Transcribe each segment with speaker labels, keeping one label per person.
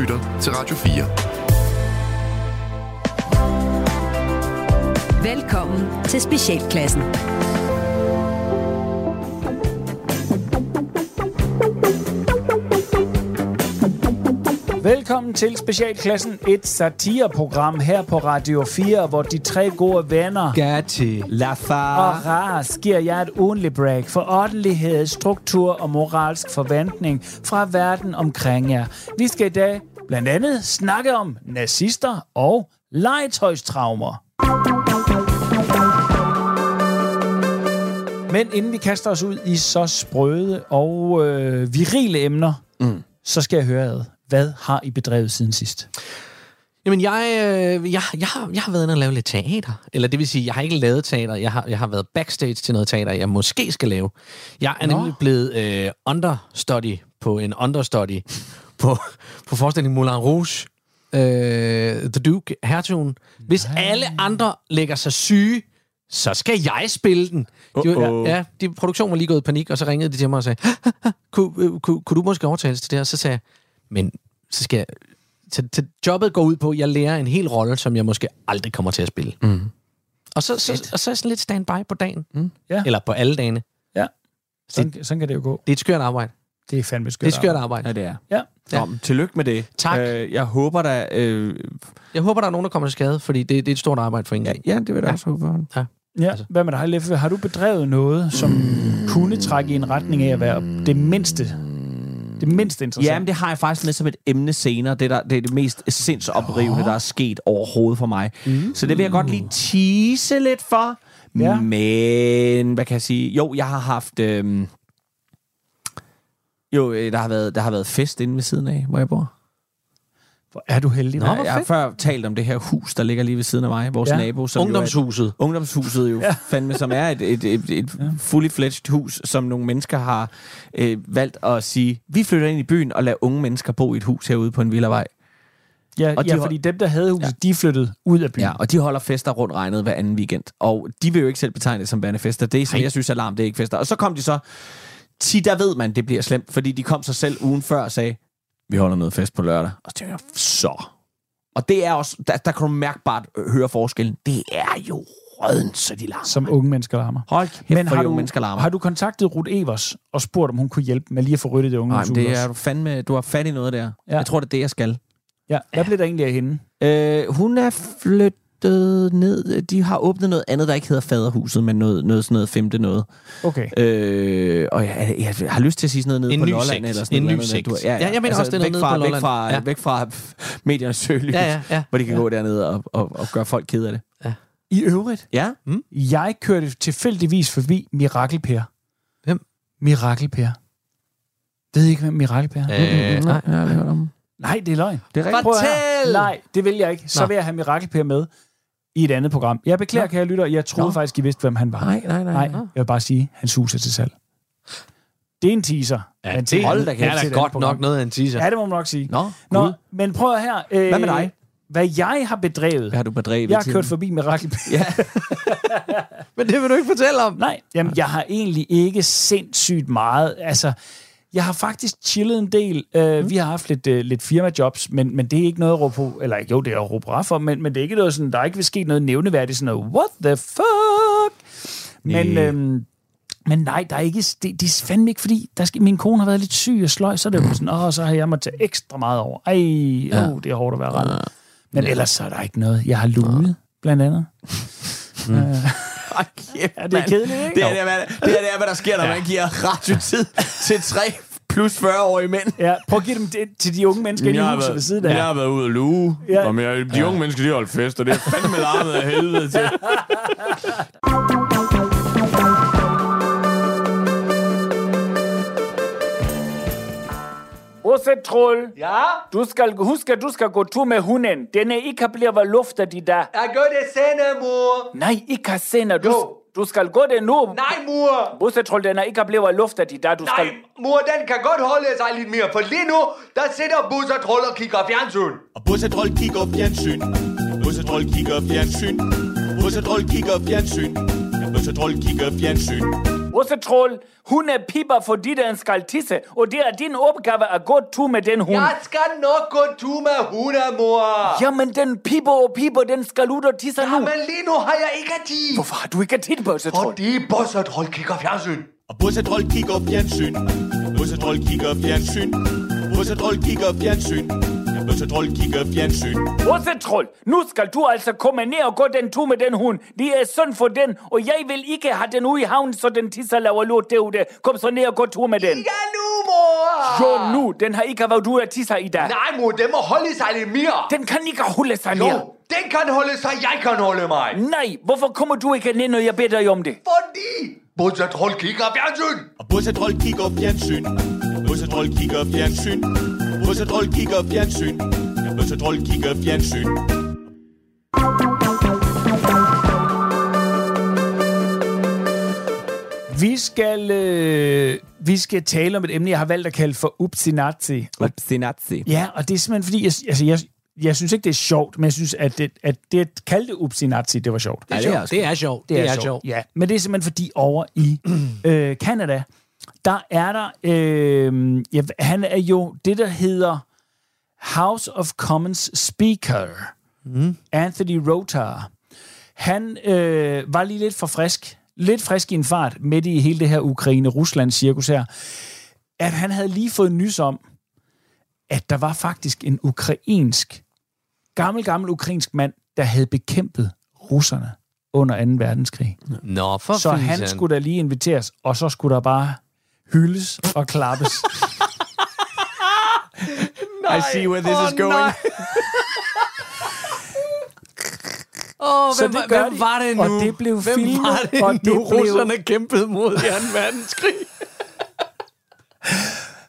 Speaker 1: lytter til Radio
Speaker 2: 4. Velkommen til Specialklassen.
Speaker 3: Velkommen til Specialklassen, et satireprogram her på Radio 4, hvor de tre gode venner
Speaker 4: Gatti, Lafar
Speaker 3: og Ras giver jer et ugenlig break for ordentlighed, struktur og moralsk forventning fra verden omkring jer. Vi skal i dag blandt andet snakke om nazister og legetøjstraumer. Men inden vi kaster os ud i så sprøde og øh, virile emner, mm. så skal jeg høre ad. Hvad har I bedrevet siden sidst?
Speaker 4: Jamen, jeg, øh, jeg, jeg, har, jeg har været inde og lave lidt teater. Eller det vil sige, jeg har ikke lavet teater. Jeg har, jeg har været backstage til noget teater, jeg måske skal lave. Jeg er Nå. nemlig blevet øh, understudy på en understudy på, på forestillingen Moulin Rouge. Øh, The Duke, hertugen. Hvis Nej. alle andre lægger sig syge, så skal jeg spille den. De, uh-oh. ja, de, produktionen var lige gået i panik, og så ringede de til mig og sagde, kunne, kunne, kunne du måske overtales til det her? Så sagde jeg, men så skal jeg... Til, til jobbet går ud på, at jeg lærer en hel rolle, som jeg måske aldrig kommer til at spille. Mm. Og, så, så, og så er jeg sådan lidt standby på dagen. Mm. Ja. Eller på alle dagene.
Speaker 3: Ja. Sådan, det, sådan kan det jo gå.
Speaker 4: Det er et skørt arbejde.
Speaker 3: Det er fandme skørt
Speaker 4: Det er et skørt arbejde.
Speaker 5: arbejde. Ja, det
Speaker 3: er. Ja.
Speaker 5: Nå, tillykke med det.
Speaker 4: Tak.
Speaker 5: Øh, jeg håber, der... Øh...
Speaker 4: Jeg håber, der er nogen, der kommer til skade, fordi det, det er et stort arbejde for en gang.
Speaker 5: Ja, ja, det vil jeg ja. også håbe.
Speaker 3: Ja. Ja, altså. hvad med dig, Leffe? Har du bedrevet noget, som mm. kunne trække i en retning af at være det mindste det mindst interessante.
Speaker 5: Jamen, det har jeg faktisk med som et emne senere. Det, der, det er det mest sindsoprivende, oh. der er sket overhovedet for mig. Mm. Så det vil jeg godt lige tease lidt for. Ja. Men, hvad kan jeg sige? Jo, jeg har haft... Øhm, jo, øh, der har, været, der har været fest inde ved siden af, hvor jeg bor.
Speaker 3: Hvor er du heldig.
Speaker 5: Nå, ja, jeg har før talt om det her hus, der ligger lige ved siden af mig. Vores ja. nabo.
Speaker 4: Som ungdomshuset. Jo
Speaker 5: et, ungdomshuset jo ja. fandme, som er et, et, et, et ja. fully fledged hus, som nogle mennesker har øh, valgt at sige, vi flytter ind i byen og lader unge mennesker bo i et hus herude på en villavej.
Speaker 3: Ja, og de ja, fordi dem, der havde huset, ja. de flyttede ud af byen. Ja,
Speaker 5: og de holder fester rundt regnet hver anden weekend. Og de vil jo ikke selv betegne det som værende fester. Det, som Ej. jeg synes er larm, det er ikke fester. Og så kom de så... Ti, der ved man, det bliver slemt, fordi de kom sig selv ugen før og sagde, vi holder noget fest på lørdag. Og så tænker jeg, så. Og det er også, der, der kan du mærkbart øh, høre forskellen. Det er jo rødden, så de larmer.
Speaker 3: Som unge mennesker larmer.
Speaker 5: Hold kæft, Men har du, mennesker larmer.
Speaker 3: Har du kontaktet Ruth Evers og spurgt, om hun kunne hjælpe med lige at få ryddet det unge Nej,
Speaker 5: det er du fandme, du har fat i noget der. Ja. Jeg tror, det er det, jeg skal.
Speaker 3: Ja, hvad blev der egentlig af hende?
Speaker 5: Øh, hun er flyttet ned. De har åbnet noget andet, der ikke hedder Faderhuset, men noget, noget sådan noget femte noget.
Speaker 3: Okay.
Speaker 5: Øh, og jeg, jeg, jeg, har lyst til at sige sådan noget nede
Speaker 4: en
Speaker 5: på Lolland. Sigt.
Speaker 4: Eller sådan en noget ny sigt.
Speaker 5: Ja, ja, ja,
Speaker 4: jeg mener altså, også, det er noget nede
Speaker 5: fra,
Speaker 4: på Lolland.
Speaker 5: Væk fra, ja. væk fra mediernes søgelys, ja, ja, ja. hvor de kan ja. gå dernede og, og, og gøre folk ked af det. Ja.
Speaker 3: I øvrigt,
Speaker 5: ja?
Speaker 4: Øh,
Speaker 3: Mm? jeg kørte tilfældigvis forbi Mirakelper.
Speaker 4: Hvem?
Speaker 3: Mirakelper. Ved I ikke, hvem Mirakelper er?
Speaker 5: Øh, mm-hmm. nej, nej, nej, nej.
Speaker 3: Nej, det er løgn.
Speaker 5: Det er rigtigt. Fortæl!
Speaker 3: Nej, det vil jeg ikke. Så Nå. vil jeg have Mirakelper med i et andet program. Jeg beklager, Nå. kære lytter, jeg troede Nå. faktisk, I vidste, hvem han var.
Speaker 5: Nej, nej, nej. nej.
Speaker 3: nej. Jeg vil bare sige, han suser til salg. Det er en teaser.
Speaker 4: Ja, men det hold da kæft, er da godt program. nok noget af en teaser.
Speaker 3: Ja, det må man nok sige.
Speaker 5: Nå,
Speaker 3: Nå cool. men prøv her.
Speaker 5: Øh, hvad med dig?
Speaker 3: Hvad jeg har bedrevet. Hvad
Speaker 5: har du bedrevet?
Speaker 3: Jeg har kørt forbi Mirakelper. Ja.
Speaker 4: men det vil du ikke fortælle om.
Speaker 3: Nej, jamen jeg har egentlig ikke sindssygt meget. Altså, jeg har faktisk chillet en del. Uh, mm. Vi har haft lidt, uh, lidt firmajobs, men, men det er ikke noget at råbe på. Eller jo, det er at råbe for, men, men det er ikke noget sådan, der er ikke vil ske noget nævneværdigt. Sådan noget, what the fuck? Nee. Men, øhm, men nej, der er ikke, det, det er fandme ikke, fordi der skal, min kone har været lidt syg og sløj, så er det jo sådan, åh, oh, så har jeg måttet tage ekstra meget over. Ej, ja. oh, det er hårdt at være ret. Ja. Men ja. ellers så er der ikke noget. Jeg har lunet, ja. blandt andet.
Speaker 5: Mm. Uh, Ej, kæft,
Speaker 3: er det kedeligt, ikke?
Speaker 5: Det er det, hvad, det er det, hvad der sker, når ja. man giver radiotid til tre plus 40-årige mænd.
Speaker 3: Ja, prøv at give dem det til de unge mennesker i huset ved siden af.
Speaker 5: Jeg har været ude at luge,
Speaker 3: ja.
Speaker 5: og jeg, de ja. unge mennesker, de holdt fest, og det er fandme larmet af helvede til.
Speaker 6: Åse Troll,
Speaker 7: ja?
Speaker 6: du skal huske, at du skal gå tur med hunden. Denne ikke bliver luftet i dag.
Speaker 7: Jeg gør det senere, mor.
Speaker 6: Nej, ikke senere. Du, jo. du skal gå det nu.
Speaker 7: Nej, mor.
Speaker 6: Busse Troll, denne ikke bliver luftet i dag. Du
Speaker 7: Nej,
Speaker 6: skal...
Speaker 7: mor, den kan godt holde sig lidt mere, for lige nu, der sidder Busse Troll og kigger fjernsyn.
Speaker 8: Og Busse Troll kigger fjernsyn. Busse Troll kigger fjernsyn. Busse Troll kigger fjernsyn. Busse Troll kigger fjernsyn.
Speaker 6: Russetroll, hun er piber, fordi den skal tisse, og det er din opgave at gå tur med den hund.
Speaker 7: Jeg skal nok gå en tur med Huna, mor.
Speaker 6: Jamen, den piber og piber, den skal ud og tisse nu.
Speaker 7: Men lige nu har jeg ikke tid.
Speaker 6: Hvorfor har du ikke tid, Russetroll?
Speaker 7: Fordi Bosse Troll kigger fjernsyn.
Speaker 8: Og Bosse Troll kigger fjernsyn. Bosse Troll kigger fjernsyn. Bosse Troll kigger fjernsyn. Bosse Troll kigger fjernsyn.
Speaker 6: Russetroll, nu skal du altså komme ned og gå den tur med den hund. Det er synd for den, og jeg vil ikke have den ude i havnen, så den tisser laver lort derude. Kom så ned og gå tur med den.
Speaker 7: Ja nu, mor.
Speaker 6: Jo nu, den har ikke været ude at tisse i dag.
Speaker 7: Nej, mor, den må holde sig lidt mere.
Speaker 6: Den kan ikke holde sig
Speaker 7: Jo,
Speaker 6: mere.
Speaker 7: den kan holde sig, jeg kan holde mig.
Speaker 6: Nej, hvorfor kommer du ikke ned, når jeg beder dig om det?
Speaker 7: Fordi Bosse Troll kigger fjernsyn.
Speaker 8: Og Bosse Troll kigger fjernsyn. Bosse Troll kigger fjernsyn. Bosse Troll kigger fjernsyn. Bosse Troll kigger fjernsyn.
Speaker 3: Vi skal, øh, vi skal tale om et emne, jeg har valgt at kalde for Upsinazi. Og,
Speaker 5: Upsinazi.
Speaker 3: ja, og det er simpelthen fordi, jeg, altså, jeg, jeg synes ikke, det er sjovt, men jeg synes, at det, at det at kalde det Upsinazi, det var sjovt.
Speaker 4: Det er, sjovt. det er sjovt. Det, er, sjovt.
Speaker 3: Ja, men det er simpelthen fordi over i øh, Canada, der er der, øh, ja, han er jo det, der hedder House of Commons Speaker, mm. Anthony Rotar. Han øh, var lige lidt for frisk, lidt frisk i en fart, midt i hele det her Ukraine-Rusland-cirkus her, at han havde lige fået nys om, at der var faktisk en ukrainsk, gammel, gammel ukrainsk mand, der havde bekæmpet russerne under 2. verdenskrig.
Speaker 4: Nå, for
Speaker 3: Så han
Speaker 4: filan.
Speaker 3: skulle da lige inviteres, og så skulle der bare hyldes og klappes.
Speaker 5: I see where this is going.
Speaker 4: Åh, oh,
Speaker 3: Så
Speaker 4: hvem,
Speaker 3: det
Speaker 4: det
Speaker 3: gør
Speaker 4: hvem
Speaker 3: de.
Speaker 4: var det nu?
Speaker 3: Og det blev
Speaker 4: hvem
Speaker 3: filmet,
Speaker 4: Var det
Speaker 3: og
Speaker 4: nu,
Speaker 3: det blev-
Speaker 4: russerne kæmpede mod i 2. verdenskrig.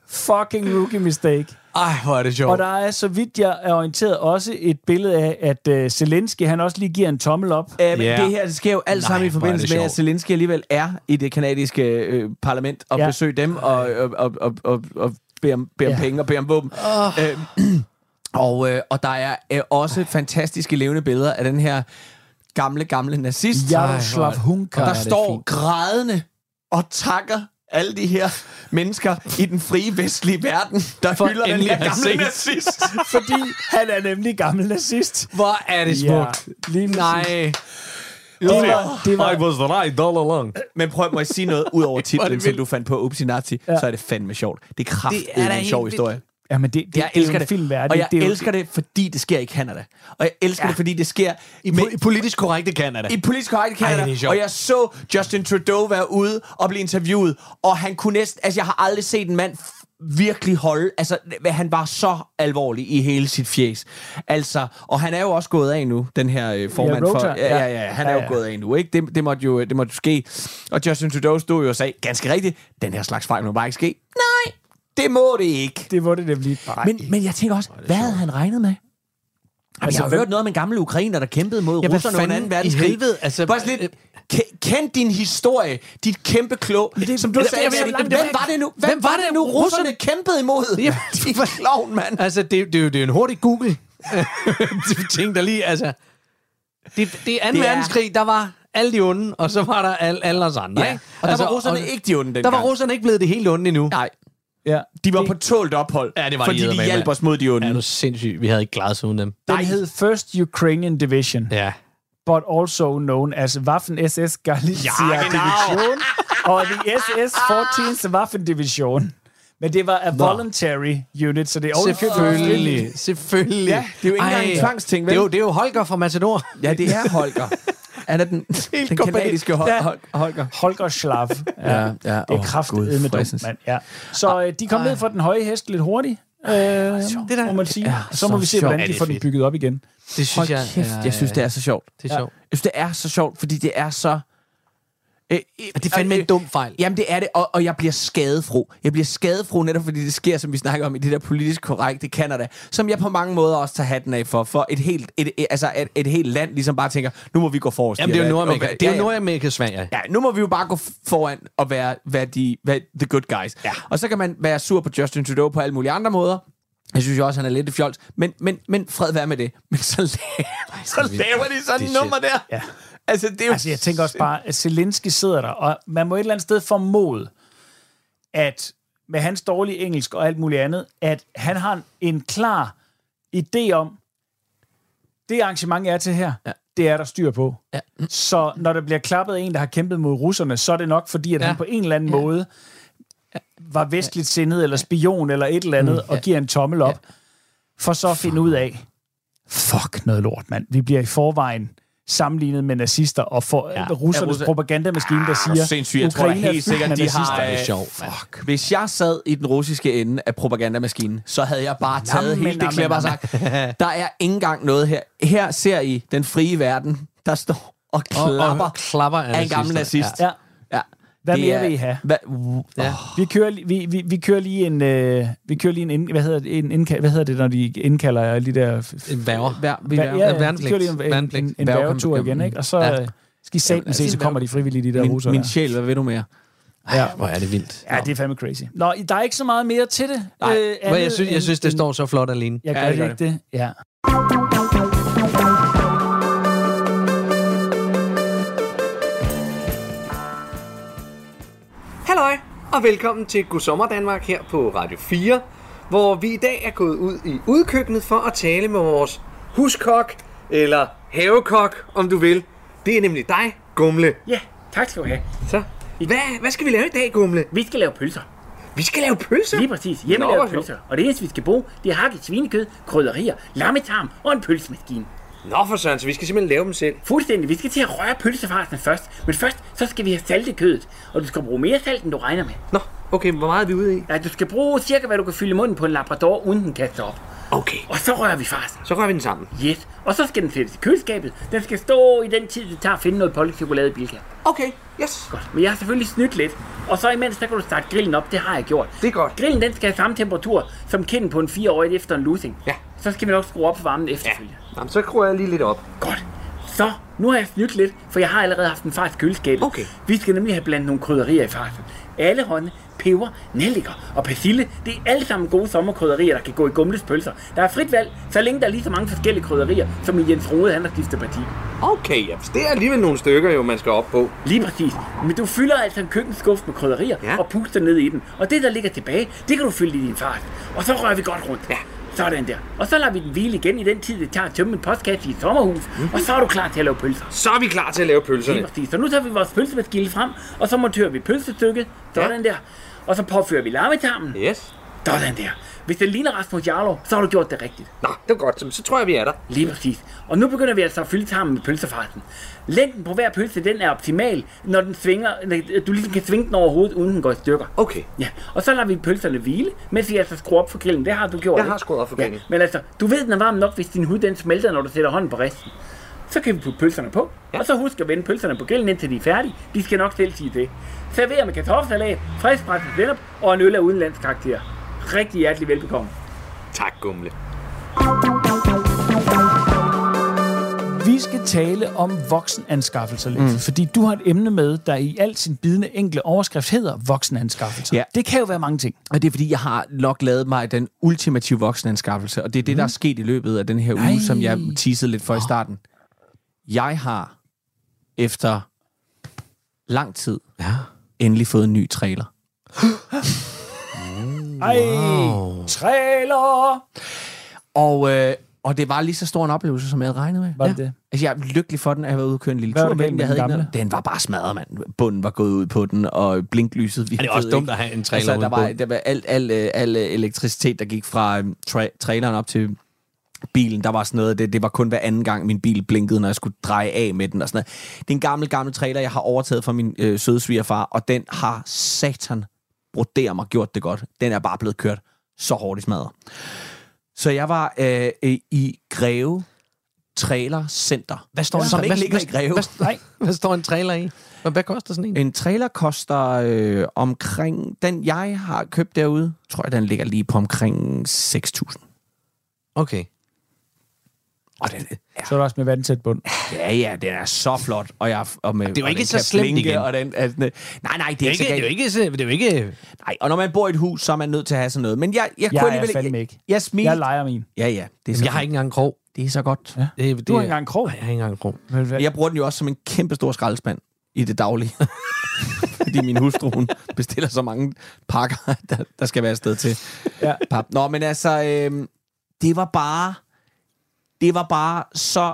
Speaker 3: Fucking rookie mistake.
Speaker 4: Ej, hvor er det sjovt.
Speaker 3: Og der er, så vidt jeg er orienteret, også et billede af, at øh, Zelensky, han også lige giver en tommel op.
Speaker 5: Æm,
Speaker 4: Ja.
Speaker 5: yeah. Øh, Det her det sker jo alt
Speaker 4: Nej,
Speaker 5: sammen
Speaker 4: hvor
Speaker 5: i
Speaker 4: er det
Speaker 5: forbindelse med,
Speaker 4: sjovt.
Speaker 5: at Zelensky alligevel er i det kanadiske øh, parlament og
Speaker 3: Ja.
Speaker 5: ja. besøger dem og, og, og, og, og, og beder om, beder om
Speaker 3: Ja.
Speaker 5: penge og beder om våben. Oh. Æm, og, øh, og der er øh, også fantastiske levende billeder af den her gamle, gamle nazist,
Speaker 3: Jaroslav Hunka.
Speaker 5: der står grædende og takker alle de her mennesker i den frie vestlige verden, der For hylder den
Speaker 4: endelig
Speaker 5: her
Speaker 4: at have
Speaker 5: gamle
Speaker 4: set.
Speaker 5: nazist.
Speaker 3: Fordi han er nemlig gammel nazist.
Speaker 4: Hvor er det smukt. Ja.
Speaker 3: lige præcis.
Speaker 4: Nej.
Speaker 3: Det var, det var,
Speaker 4: was right all along.
Speaker 5: Men prøv, må jeg sige noget ud over titlen, til du fandt på Upsi Nazi, ja. så er det fandme sjovt. Det er
Speaker 4: Det er
Speaker 5: kraftedeme
Speaker 4: da
Speaker 5: en
Speaker 4: helt
Speaker 5: sjov
Speaker 4: vildt.
Speaker 5: historie.
Speaker 3: ja, men det, det,
Speaker 5: Jeg
Speaker 3: det er jo
Speaker 5: elsker
Speaker 3: en
Speaker 5: det.
Speaker 3: film værdig.
Speaker 5: og jeg
Speaker 3: det er jo-
Speaker 5: elsker det, fordi det sker i Canada. Og jeg elsker ja. det, fordi det sker i,
Speaker 4: I politisk korrekte Canada.
Speaker 5: i politisk korrekt i
Speaker 4: det er
Speaker 5: Canada.
Speaker 4: sjovt.
Speaker 5: og jeg så Justin Trudeau være ude og blive interviewet, og han kunne næsten... Altså, jeg har aldrig set en mand f- virkelig holde... Altså, hvad- han var så alvorlig i hele sit fjes. Altså, og han er jo også gået af nu, den her øh, formand for...
Speaker 3: Rota,
Speaker 5: Ja,
Speaker 3: ja.
Speaker 5: ja, ja, han er
Speaker 3: Ja,
Speaker 5: jo
Speaker 3: ja.
Speaker 5: gået af nu, ikke? Det, det, måtte jo, øh, det måtte jo ske. Og Justin Trudeau stod jo og sagde, ganske rigtigt, den her slags fejl må bare ikke ske. Nej, det må det ikke.
Speaker 3: Det var det nemlig.
Speaker 5: Men, men jeg tænker også, hvad havde han regnet med? Altså,
Speaker 3: Altså,
Speaker 5: jeg har
Speaker 3: hvem-
Speaker 5: hørt noget om en gammel ukrainer, der kæmpede mod
Speaker 4: Ja,
Speaker 5: ja,
Speaker 4: hvad
Speaker 5: russerne under
Speaker 4: fanden
Speaker 5: 2.
Speaker 4: i
Speaker 5: verdenskrig.
Speaker 4: helvede? Altså,
Speaker 5: Bare sådan lidt, ke- kend din historie, dit kæmpe klog, det, som du
Speaker 4: det-
Speaker 5: sagde.
Speaker 4: det- det-
Speaker 5: Eddie.
Speaker 4: det- det-
Speaker 5: hvem var det nu? Hvem, var det nu, russerne kæmpede imod?
Speaker 4: Ja.
Speaker 5: De var klovn, mand.
Speaker 4: Altså, det, det, er jo- det er jo en hurtig Google. du tænkte lige, altså... Det, det er 2.
Speaker 5: Det er-
Speaker 4: verdenskrig, der var alle de onde, og så var der alle, alle os andre,
Speaker 5: Ja.
Speaker 4: ikke? Altså,
Speaker 5: Og der var russerne ikke de onde
Speaker 4: Der var
Speaker 5: dengang.
Speaker 4: russerne ikke blevet det helt onde endnu.
Speaker 5: Nej,
Speaker 3: Ja.
Speaker 5: de var på tålt ophold,
Speaker 4: Ja, det var de
Speaker 5: fordi de
Speaker 4: eddermame,
Speaker 5: hjalp
Speaker 4: mand.
Speaker 5: os mod de onde.
Speaker 4: Ja, du er sindssyg. Vi havde ikke klaret os uden dem.
Speaker 3: Den hed First Ukrainian Division.
Speaker 4: Ja.
Speaker 3: but also known as Waffen-SS Galicia-Division og the SS-14. Waffen-Division. Men det var a voluntary unit, så det er ovenikøbet-
Speaker 4: Selvfølgelig. Selvfølgelig.
Speaker 5: Ja, det er jo ikke engang en tvangsting,
Speaker 4: det
Speaker 5: vel?
Speaker 4: er, jo, det er jo Holger fra Matador.
Speaker 5: Ja, det er Holger. Han er den,
Speaker 4: komplet.
Speaker 5: den kanadiske Hol-
Speaker 3: Ja.
Speaker 5: Hol- Holger.
Speaker 3: Holger Schlaf. Ja,
Speaker 5: ja.
Speaker 3: Det er
Speaker 5: Åh,
Speaker 3: kraftedeme
Speaker 5: Gud, Ah.
Speaker 3: med dumt,
Speaker 5: fræsens.
Speaker 3: mand. Ja. Så øh, de kom ned fra den høje hest lidt hurtigt, øh, det
Speaker 4: der-
Speaker 3: der, må man sige.
Speaker 5: det er
Speaker 3: Så må
Speaker 5: Ah, så
Speaker 3: vi se,
Speaker 5: sjovt.
Speaker 3: hvordan
Speaker 4: Ja,
Speaker 3: de
Speaker 4: det er
Speaker 3: får den
Speaker 4: fedt.
Speaker 3: bygget op igen.
Speaker 4: Det synes
Speaker 5: Hold
Speaker 4: jeg...
Speaker 5: kæft, jeg synes, det er så sjovt.
Speaker 4: Det er sjovt.
Speaker 5: Jeg synes, det er så sjovt, fordi det er så... Øh, øh,
Speaker 4: Det er fandme en dum fejl.
Speaker 5: Jamen, det er det, og, og jeg bliver skadefro. Jeg bliver skadefro netop, fordi det sker, som vi snakker om, i det der politisk korrekte Kanada, som jeg på mange måder også tager hatten af for, for et helt, et, et, altså et, et helt land ligesom bare tænker, nu må vi gå forrest.
Speaker 4: Jamen, det er jo
Speaker 5: Ja,
Speaker 4: Nordamerika.
Speaker 5: okay,
Speaker 4: Det er
Speaker 5: ja,
Speaker 4: jo
Speaker 5: ja.
Speaker 4: Nordamerika, Sverige.
Speaker 5: Ja, nu må vi jo bare gå foran og være, være, de, være the good guys. Ja. Og så kan man være sur på Justin Trudeau på alle mulige andre måder. Jeg synes jo også, han er lidt et fjols. Men, men, men fred være med det. Men så laver, så laver de sådan
Speaker 9: det
Speaker 5: et
Speaker 9: er
Speaker 5: nummer der.
Speaker 3: Ja.
Speaker 5: Altså, det er jo
Speaker 3: Altså, jeg tænker også bare, at Zelensky sidder der, og man må et eller andet sted formode, at med hans dårlige engelsk og alt muligt andet, at han har en klar idé om, det arrangement, jeg er til her, ja. det er der styr på. Ja. Så når der bliver klappet af en, der har kæmpet mod russerne, så er det nok fordi, at ja. han på en eller anden ja. måde var vestligt sindet, eller spion, eller et eller
Speaker 5: Mm.
Speaker 3: andet, og giver en tommel op, for så at finde ud af, fuck noget lort, mand. Vi bliver i forvejen sammenlignet med nazister, og for ja. russernes
Speaker 5: Ja, Russer-
Speaker 3: propagandamaskine, der
Speaker 5: Det er
Speaker 3: siger,
Speaker 5: sindssygt. Jeg tror da
Speaker 3: Ukraine er fyldt
Speaker 5: helt sikkert,
Speaker 3: med
Speaker 5: de
Speaker 3: nazister.
Speaker 5: har...
Speaker 9: Det er
Speaker 5: øh,
Speaker 9: sjovt, mand.
Speaker 5: Fuck. Hvis jeg sad i den russiske ende af propagandamaskinen, så havde jeg bare taget
Speaker 3: Jamen,
Speaker 5: hele det
Speaker 3: jamen,
Speaker 5: klip og sagt, der er ikke engang noget her. Her ser I den frie verden, der står og klapper,
Speaker 9: og klapper af
Speaker 5: af en gammel
Speaker 9: nazister.
Speaker 5: nazist.
Speaker 3: Ja.
Speaker 5: ja.
Speaker 3: Hvad
Speaker 5: Det
Speaker 3: mere
Speaker 5: er-
Speaker 3: vil I have?
Speaker 5: Hvad,
Speaker 9: Ja.
Speaker 5: ja.
Speaker 3: Vi kører, li- vi, vi, vi kører lige en, øh, vi kører lige en, ind- hvad hedder, det? en indkald, hvad hedder det, når de indkalder alle de der... f- f-
Speaker 9: En værger.
Speaker 5: Hver, vi
Speaker 3: Ja,
Speaker 5: laver-
Speaker 3: ja, ja, de
Speaker 9: værnepligt.
Speaker 3: kører lige en, en, en,
Speaker 9: Værnepligt.
Speaker 3: en værgetur igen, ikke? Og så
Speaker 9: Ja.
Speaker 3: ja. skal I satan se, så kommer de frivillige, de der
Speaker 5: min,
Speaker 3: russere.
Speaker 5: min
Speaker 3: der.
Speaker 5: sjæl, hvad vil du mere?
Speaker 3: Ja.
Speaker 9: Hvor er det vildt.
Speaker 3: ja, det er fandme crazy. Nå, I- der er ikke så meget mere til det.
Speaker 9: Nej,
Speaker 3: øh,
Speaker 9: hvor
Speaker 3: andet
Speaker 9: jeg synes, jeg
Speaker 3: end-
Speaker 9: synes, det
Speaker 3: end-
Speaker 9: står så flot alene.
Speaker 3: Jeg gør,
Speaker 5: Ja,
Speaker 3: ja, det
Speaker 5: det gør
Speaker 3: ikke det. Ja.
Speaker 4: Halløj, og velkommen til God Sommer Danmark her på Radio 4, hvor vi i dag er gået ud i udkøkkenet for at tale med vores huskok, eller havekok, om du vil. Det er nemlig dig, Gumle.
Speaker 10: Ja, tak skal du have.
Speaker 4: Så, hvad, hvad skal vi lave i dag, Gumle?
Speaker 10: Vi skal lave pølser.
Speaker 4: Vi skal lave pølser.
Speaker 10: Lige præcis.
Speaker 4: Nå,
Speaker 10: Hjemmelavede
Speaker 4: hvor
Speaker 10: pølser. Og det eneste, vi skal bruge, det er hakket svinekød, krydderier, lammetarm og en pølsemaskine.
Speaker 4: Nå for søren, så vi skal simpelthen lave dem selv.
Speaker 10: Fuldstændig. Vi skal til at røre pølsefarsen først. Men først, så skal vi have saltet kødet. Og du skal bruge mere salt, end du regner med.
Speaker 4: Nå, okay, hvor meget er vi ude i?
Speaker 10: Ja, du skal bruge cirka, hvad du kan fylde i munden på en labrador, uden den kaster op.
Speaker 4: Okay,
Speaker 10: Og så rører vi farsen.
Speaker 4: så rører vi den sammen.
Speaker 10: Yes. Og så skal den sættes i køleskabet. Den skal stå i den tid, det tager at finde noget polkchokolade i Bilka.
Speaker 4: Okay, yes.
Speaker 10: Godt. Men jeg har selvfølgelig snydt lidt. Og så imens, der kan du starte grillen op. Det har jeg gjort.
Speaker 4: Det er godt.
Speaker 10: Grillen, den skal have samme temperatur som kinden på en 4-årig efter en losing.
Speaker 4: Ja.
Speaker 10: Så skal vi nok skrue op for varmen efterfølgende.
Speaker 4: Jamen, så skruer jeg lige lidt op.
Speaker 10: Ja. Godt. Så, nu har jeg snydt lidt, for jeg har allerede haft en fars i køleskabet.
Speaker 4: Okay.
Speaker 10: Vi skal nemlig have blandet nogle krydderier i farsen. Alle hånde, peber, nelliker og persille, det er alle sammen gode sommerkrydderier, der kan gå i gumles pølser. Der er frit valg, så længe der er lige så mange forskellige krydderier, som i Jens Rode, han har skiftet parti.
Speaker 4: Okay, ja, det er alligevel nogle stykker, jo, man skal op på.
Speaker 10: Lige præcis. Men du fylder altså en køkkenskuffe med krydderier
Speaker 4: Ja.
Speaker 10: ja. og puster ned i den. Og det, der ligger tilbage, det kan du fylde i din fart. Og så rører vi godt rundt.
Speaker 4: Ja.
Speaker 10: Sådan der. Og så lader vi den hvile igen i den tid, det tager at tømme en postkasse i et sommerhus. Mm.
Speaker 4: Mhm.
Speaker 10: Og så er du klar til at lave pølser.
Speaker 4: Så er vi klar til at lave
Speaker 10: Lige
Speaker 4: pølserne.
Speaker 10: præcis. Så nu tager vi vores pølsemaskine frem, og så monterer vi pølsestykket. Sådan der. Og så påfører vi lammetarmen.
Speaker 4: Yes.
Speaker 10: Sådan der. Hvis det ligner Rasmus Jarlov, så har du gjort det rigtigt.
Speaker 4: Nå, det var godt. Så- Så tror jeg, vi er der.
Speaker 10: Lige præcis. Og nu begynder vi altså at fylde tarmen med pølsefarten. Længden på hver pølse, den er optimal, når den svinger, når du ligesom kan svinge den over hovedet, uden den går i stykker.
Speaker 4: Okay.
Speaker 10: Ja, og så lader vi pølserne hvile, mens vi altså skruer op for grillen. Det har du gjort,
Speaker 4: Jeg
Speaker 10: ikke?
Speaker 4: har skruet op for grillen.
Speaker 10: Ja, men altså, du ved, den er varm nok, hvis din hud den smelter, når du sætter hånden på resten. Så kan vi putte pølserne på, ja. og så husk at vende pølserne på grillen, indtil de er færdige. De skal nok selv sige det. Server med kartoffelsalat, friskpresset sennep og en øl af udenlandsk karakter. Rigtig hjertelig velbekomme.
Speaker 4: Tak, Gumle.
Speaker 3: Vi skal tale om voksenanskaffelser lidt, mm. fordi du har et emne med, der i al sin bidende enkle overskrift hedder voksenanskaffelser.
Speaker 5: Ja.
Speaker 3: Det kan jo være mange ting.
Speaker 5: Og det er, fordi jeg har nok lavet mig den ultimative voksenanskaffelse, og det er det, der
Speaker 3: Mm.
Speaker 5: er sket i løbet af den her uge, som jeg teasede lidt for i starten. Jeg har efter lang tid ja. endelig fået en ny trailer.
Speaker 3: Ej, trailer!
Speaker 5: Og, øh, og det var lige så stor en oplevelse, som jeg havde regnet med.
Speaker 3: Var det det?
Speaker 5: Altså, jeg er lykkelig for den, at jeg var ude og køre en lille
Speaker 3: Hvad var
Speaker 5: tur
Speaker 3: der galt
Speaker 5: med den.
Speaker 3: med
Speaker 5: Jeg havde
Speaker 3: den
Speaker 5: ikke
Speaker 3: gamle?
Speaker 5: noget. Den var bare smadret, mand. Bunden var gået ud på den, og blinklyset virkede
Speaker 9: det er også dumt
Speaker 5: ikke.
Speaker 9: at have en trailer
Speaker 5: altså, der
Speaker 9: uden
Speaker 5: var,
Speaker 9: bund.
Speaker 5: der var alt, alt, øh, al, øh, elektricitet, der gik fra øhm, tra- traileren op til bilen, der var sådan noget, det, det var kun hver anden gang, min bil blinkede, når jeg skulle dreje af med den og sådan noget. Det er en gammel, gammel trailer, jeg har overtaget fra min øh, søde svigerfar, og den har satan broder mig gjort det godt. Den er bare blevet kørt så hårdt i smadret. Så jeg var øh, øh, i Greve Trailer Center.
Speaker 9: Hvad står en
Speaker 5: som
Speaker 9: tra-
Speaker 5: ikke
Speaker 9: hvad-
Speaker 5: ligger i
Speaker 9: hvad-
Speaker 5: Greve.
Speaker 9: Hvad, hvad står en trailer i? Hvad, hvad koster sådan en?
Speaker 5: En trailer koster øh, omkring... Den, jeg har købt derude, tror jeg, den ligger lige på omkring 6.000.
Speaker 9: Okay.
Speaker 5: Og den, ja,
Speaker 3: Så er der også med vandtæt bund.
Speaker 5: ja, ja, den er så flot. Og jeg, og med, det
Speaker 4: er jo ikke så slemt igen.
Speaker 5: Og den, altså, nej, nej, det er,
Speaker 4: Det er, ikke, det, er jo
Speaker 5: ikke.
Speaker 4: ikke, så- det er jo ikke...
Speaker 5: Nej, og når man bor i et hus, så er man nødt til at have sådan noget. Men jeg, jeg,
Speaker 3: Jeg
Speaker 5: kunne
Speaker 3: er
Speaker 5: alligevel...
Speaker 3: fandme ikke.
Speaker 5: Jeg, jeg smilte.
Speaker 3: Jeg leger min.
Speaker 5: ja, ja. Det er så
Speaker 4: Jeg har
Speaker 5: fint.
Speaker 4: ikke engang en krog.
Speaker 5: Det er så godt. Ja.
Speaker 4: Det, det,
Speaker 3: Du har ikke engang en krog.
Speaker 4: Nej, jeg har ikke engang en krog.
Speaker 5: Men Jeg bruger den jo også som en kæmpe stor skraldespand i det daglige. Fordi min hustru, hun bestiller så mange pakker, der, der skal være et sted til
Speaker 3: Ja.
Speaker 5: pap. Nå, men altså, øh, det var bare... Det var bare så...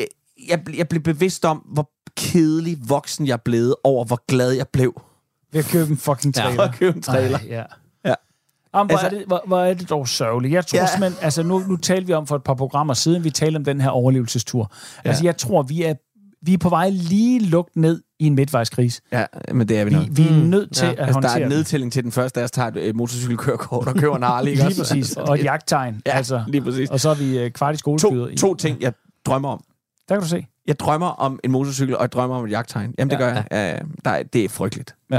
Speaker 5: Øh, jeg, ble- jeg blev bevidst om, hvor kedelig voksen jeg blev over, hvor glad jeg blev
Speaker 3: Ved at købe en fucking
Speaker 5: for
Speaker 3: trailer.
Speaker 5: at købe en trailer.
Speaker 3: Ej, ja.
Speaker 5: Ja.
Speaker 3: Jamen, hvor, altså,
Speaker 5: Altså-
Speaker 3: er det, hvor, hvor er det dog sørgeligt. Jeg tror
Speaker 5: Ja.
Speaker 3: ja. simpelthen, altså nu, nu talte vi om for et par programmer siden, vi talte om den her overlevelsestur. Ja. Altså jeg tror, vi er, vi er på vej lige lukt ned i en midtvejskris.
Speaker 5: Ja, men det er vi nok.
Speaker 3: Vi, vi er nødt til ja. at
Speaker 5: Altså, der
Speaker 3: håndtere
Speaker 5: er en
Speaker 3: den.
Speaker 5: nedtælling til den første af os, tager et øh, motorcykelkørekort og køber en Harley. ikke
Speaker 3: Lige
Speaker 5: også?
Speaker 3: præcis.
Speaker 5: Altså,
Speaker 3: Og et
Speaker 5: det-
Speaker 3: jagttegn.
Speaker 5: Ja,
Speaker 3: altså.
Speaker 5: lige præcis.
Speaker 3: Og så er vi øh, kvart i
Speaker 5: To,
Speaker 3: skoleskyder.
Speaker 5: to ting, jeg drømmer om.
Speaker 3: Der kan du se.
Speaker 5: Jeg drømmer om en motorcykel, og jeg drømmer om et jagttegn. Jamen, det
Speaker 3: Ja,
Speaker 5: gør jeg. Ja, ja. Der er, det er frygteligt.
Speaker 3: Men,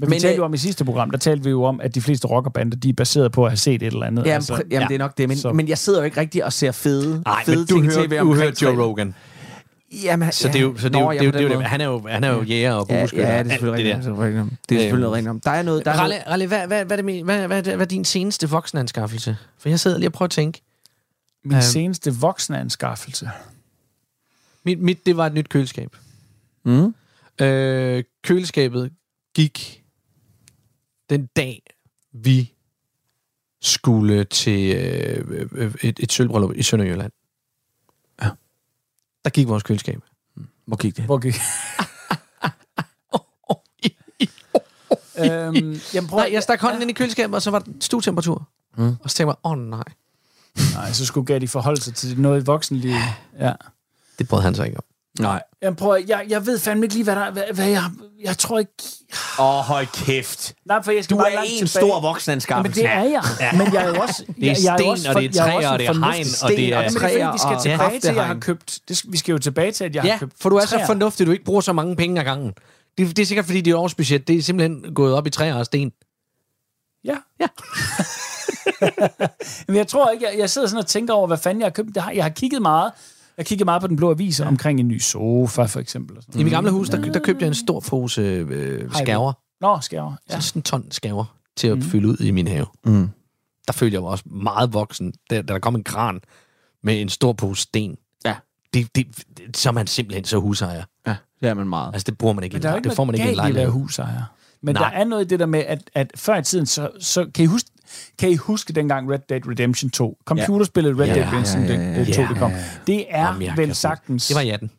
Speaker 3: Men vi
Speaker 5: Men,
Speaker 3: talte
Speaker 5: øh,
Speaker 3: jo om i sidste program, der talte vi jo om, at de fleste rockerbander, de er baseret på at have set et eller andet.
Speaker 5: Jamen, altså, jamen ja. det er nok det. Men,
Speaker 3: så-
Speaker 5: men jeg sidder jo ikke rigtig og ser fede,
Speaker 4: Nej,
Speaker 5: fede
Speaker 4: men du
Speaker 5: ting
Speaker 4: hører,
Speaker 5: til ved
Speaker 4: du
Speaker 5: omkring
Speaker 4: hører Joe
Speaker 5: trailer.
Speaker 4: Rogan.
Speaker 5: Jamen,
Speaker 4: Så det er jo, så det er jo,
Speaker 5: Nå,
Speaker 4: det
Speaker 5: ja,
Speaker 4: er jo,
Speaker 5: på
Speaker 4: det er jo,
Speaker 5: den
Speaker 4: det.
Speaker 5: måde.
Speaker 4: han er jo, han er jo jæger og
Speaker 5: Ja,
Speaker 4: bueskytter.
Speaker 5: ja, det er
Speaker 4: Alt
Speaker 5: selvfølgelig rigtigt. Det
Speaker 4: der.
Speaker 5: er selvfølgelig rigtigt. Det er selvfølgelig rigtigt. om. Der er noget... Der er
Speaker 4: Ralle,
Speaker 5: noget
Speaker 4: Ralle hvad, hvad, hvad, er det, men- hvad, hvad, hvad, hvad er din seneste voksenanskaffelse? For jeg sidder lige og prøver at tænke.
Speaker 3: Min seneste voksenanskaffelse.
Speaker 4: Mit, mit det var et nyt køleskab. Mm. Øh, køleskabet gik den dag, vi skulle til øh, øh, et, et sølvbrøllup i Sønderjylland. Ja. Der gik vores køleskab.
Speaker 5: hvor gik det?
Speaker 3: Hvor gik... øhm, jamen, prøv,
Speaker 4: Nej, jeg stak hånden ja. ind i køleskabet, og så var der stuetemperatur. Mm. Og så tænkte jeg, åh oh, nej.
Speaker 3: Nej, så skulle Gatti forholde sig til noget i voksenlivet. Ja.
Speaker 4: Det brød han sig ikke om.
Speaker 5: Nej.
Speaker 3: Jamen, prøv, at- jeg, jeg ved fandme ikke lige, hvad, der, hvad, hvad jeg... Jeg tror ikke...
Speaker 5: Åh, oh, hold kæft.
Speaker 3: Nej, for jeg skal
Speaker 5: Du
Speaker 3: bare
Speaker 5: er
Speaker 3: langt
Speaker 5: en
Speaker 3: tilbage.
Speaker 5: stor
Speaker 3: Ja, men det
Speaker 5: voksenanskaffelse.
Speaker 3: er jeg. Ja. Men jeg er jo også...
Speaker 4: Det er
Speaker 3: jeg, jeg
Speaker 4: sten,
Speaker 3: jo
Speaker 4: og det er
Speaker 3: for- jeg jo
Speaker 4: træer,
Speaker 3: også
Speaker 4: og det er
Speaker 3: fornuftig.
Speaker 4: hegn, og det
Speaker 3: Sten,
Speaker 4: er-
Speaker 3: men det er fordi, vi skal
Speaker 5: og-
Speaker 3: tilbage til, at jeg har
Speaker 5: kraftehegn.
Speaker 3: købt... Det, skal- vi skal jo tilbage til, at jeg har
Speaker 4: Ja,
Speaker 3: købt
Speaker 4: for du er så
Speaker 3: træer.
Speaker 4: fornuftig, at du ikke bruger så mange penge ad gangen. Det, det er sikkert, fordi dit årsbudget det er simpelthen gået op i træer og sten.
Speaker 3: Ja.
Speaker 4: Ja.
Speaker 3: Men jeg tror ikke, jeg, jeg sidder sådan og tænker over, hvad fanden jeg har købt. Det har, jeg har kigget meget. Jeg kiggede meget på den blå avis omkring en ny sofa, for eksempel. Og sådan.
Speaker 4: I mit gamle hus, der, der købte jeg en stor pose øh, skærver.
Speaker 3: noget. Nå, skal jeg over.
Speaker 4: Ja.
Speaker 3: ja.
Speaker 4: Sådan en ton skærver til at mm. fylde ud i min have.
Speaker 5: Mm.
Speaker 4: Der følte jeg mig også meget voksen, da, da der kom en kran med en stor pose sten.
Speaker 5: Ja.
Speaker 4: Det, det, det, så er man simpelthen så husejer.
Speaker 5: Ja, det er man meget.
Speaker 4: Altså, det bruger man ikke.
Speaker 3: Men
Speaker 4: i
Speaker 3: der er jo
Speaker 4: en-
Speaker 3: ikke
Speaker 4: det får man ikke i en
Speaker 3: noget galt i at være
Speaker 4: lejlighed.
Speaker 3: husejer. Men
Speaker 4: Nej.
Speaker 3: Nej. der er noget i det der med, at, at før i tiden, så, så kan, I huske, kan I huske dengang Red Dead Redemption 2? Computerspillet Red
Speaker 4: Ja.
Speaker 3: Dead Redemption
Speaker 5: Ja, ja, ja, ja.
Speaker 3: 2, det kom. Det er
Speaker 4: Jamen, jeg kan
Speaker 3: vel
Speaker 4: huske.
Speaker 3: sagtens...
Speaker 4: Det var i 18.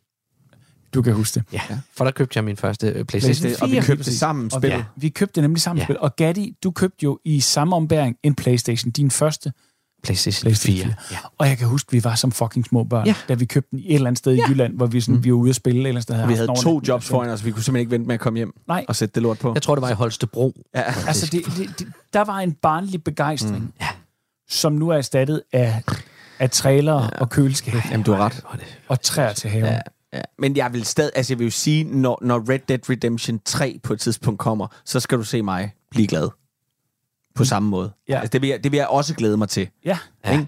Speaker 3: Du kan huske det.
Speaker 4: Ja. For der købte jeg min første øh, PlayStation
Speaker 5: Det, og vi
Speaker 4: 4.
Speaker 5: købte sammen
Speaker 3: Og vi,
Speaker 5: spillet.
Speaker 3: vi købte det nemlig sammen
Speaker 4: Ja.
Speaker 3: ja. Og Gatti, du købte jo i samme ombæring en Playstation, din første.
Speaker 4: PlayStation,
Speaker 3: PlayStation
Speaker 4: 4.
Speaker 3: 4.
Speaker 4: Ja.
Speaker 3: Og jeg kan huske, vi var som fucking små børn,
Speaker 4: Ja.
Speaker 3: ja. da vi købte den i et eller andet sted ja. i Jylland, hvor vi, sådan, vi var ude at spille et eller andet sted.
Speaker 5: Vi
Speaker 3: haft
Speaker 5: havde
Speaker 3: en
Speaker 5: to
Speaker 3: overnatning.
Speaker 5: jobs foran os, vi kunne simpelthen ikke vente med at komme hjem
Speaker 3: Nej.
Speaker 5: og sætte det lort på.
Speaker 4: altså. Jeg tror, det var i Holstebro.
Speaker 5: Ja.
Speaker 3: Altså, det, det, det, der var en barnlig begejstring, mm. ja. som nu er erstattet af, af trailer ja. og køleskab
Speaker 5: Jamen, du har ret.
Speaker 3: og træer til haven. Ja.
Speaker 5: Ja, men jeg vil stadig, altså jeg vil jo sige, når, når Red Dead Redemption 3 på et tidspunkt kommer, så skal du se mig blive glad. På samme måde.
Speaker 3: Mm. Ja.
Speaker 5: Altså, det, vil jeg, det vil jeg også glæde mig til.
Speaker 3: ja.
Speaker 5: Ja. Ikke?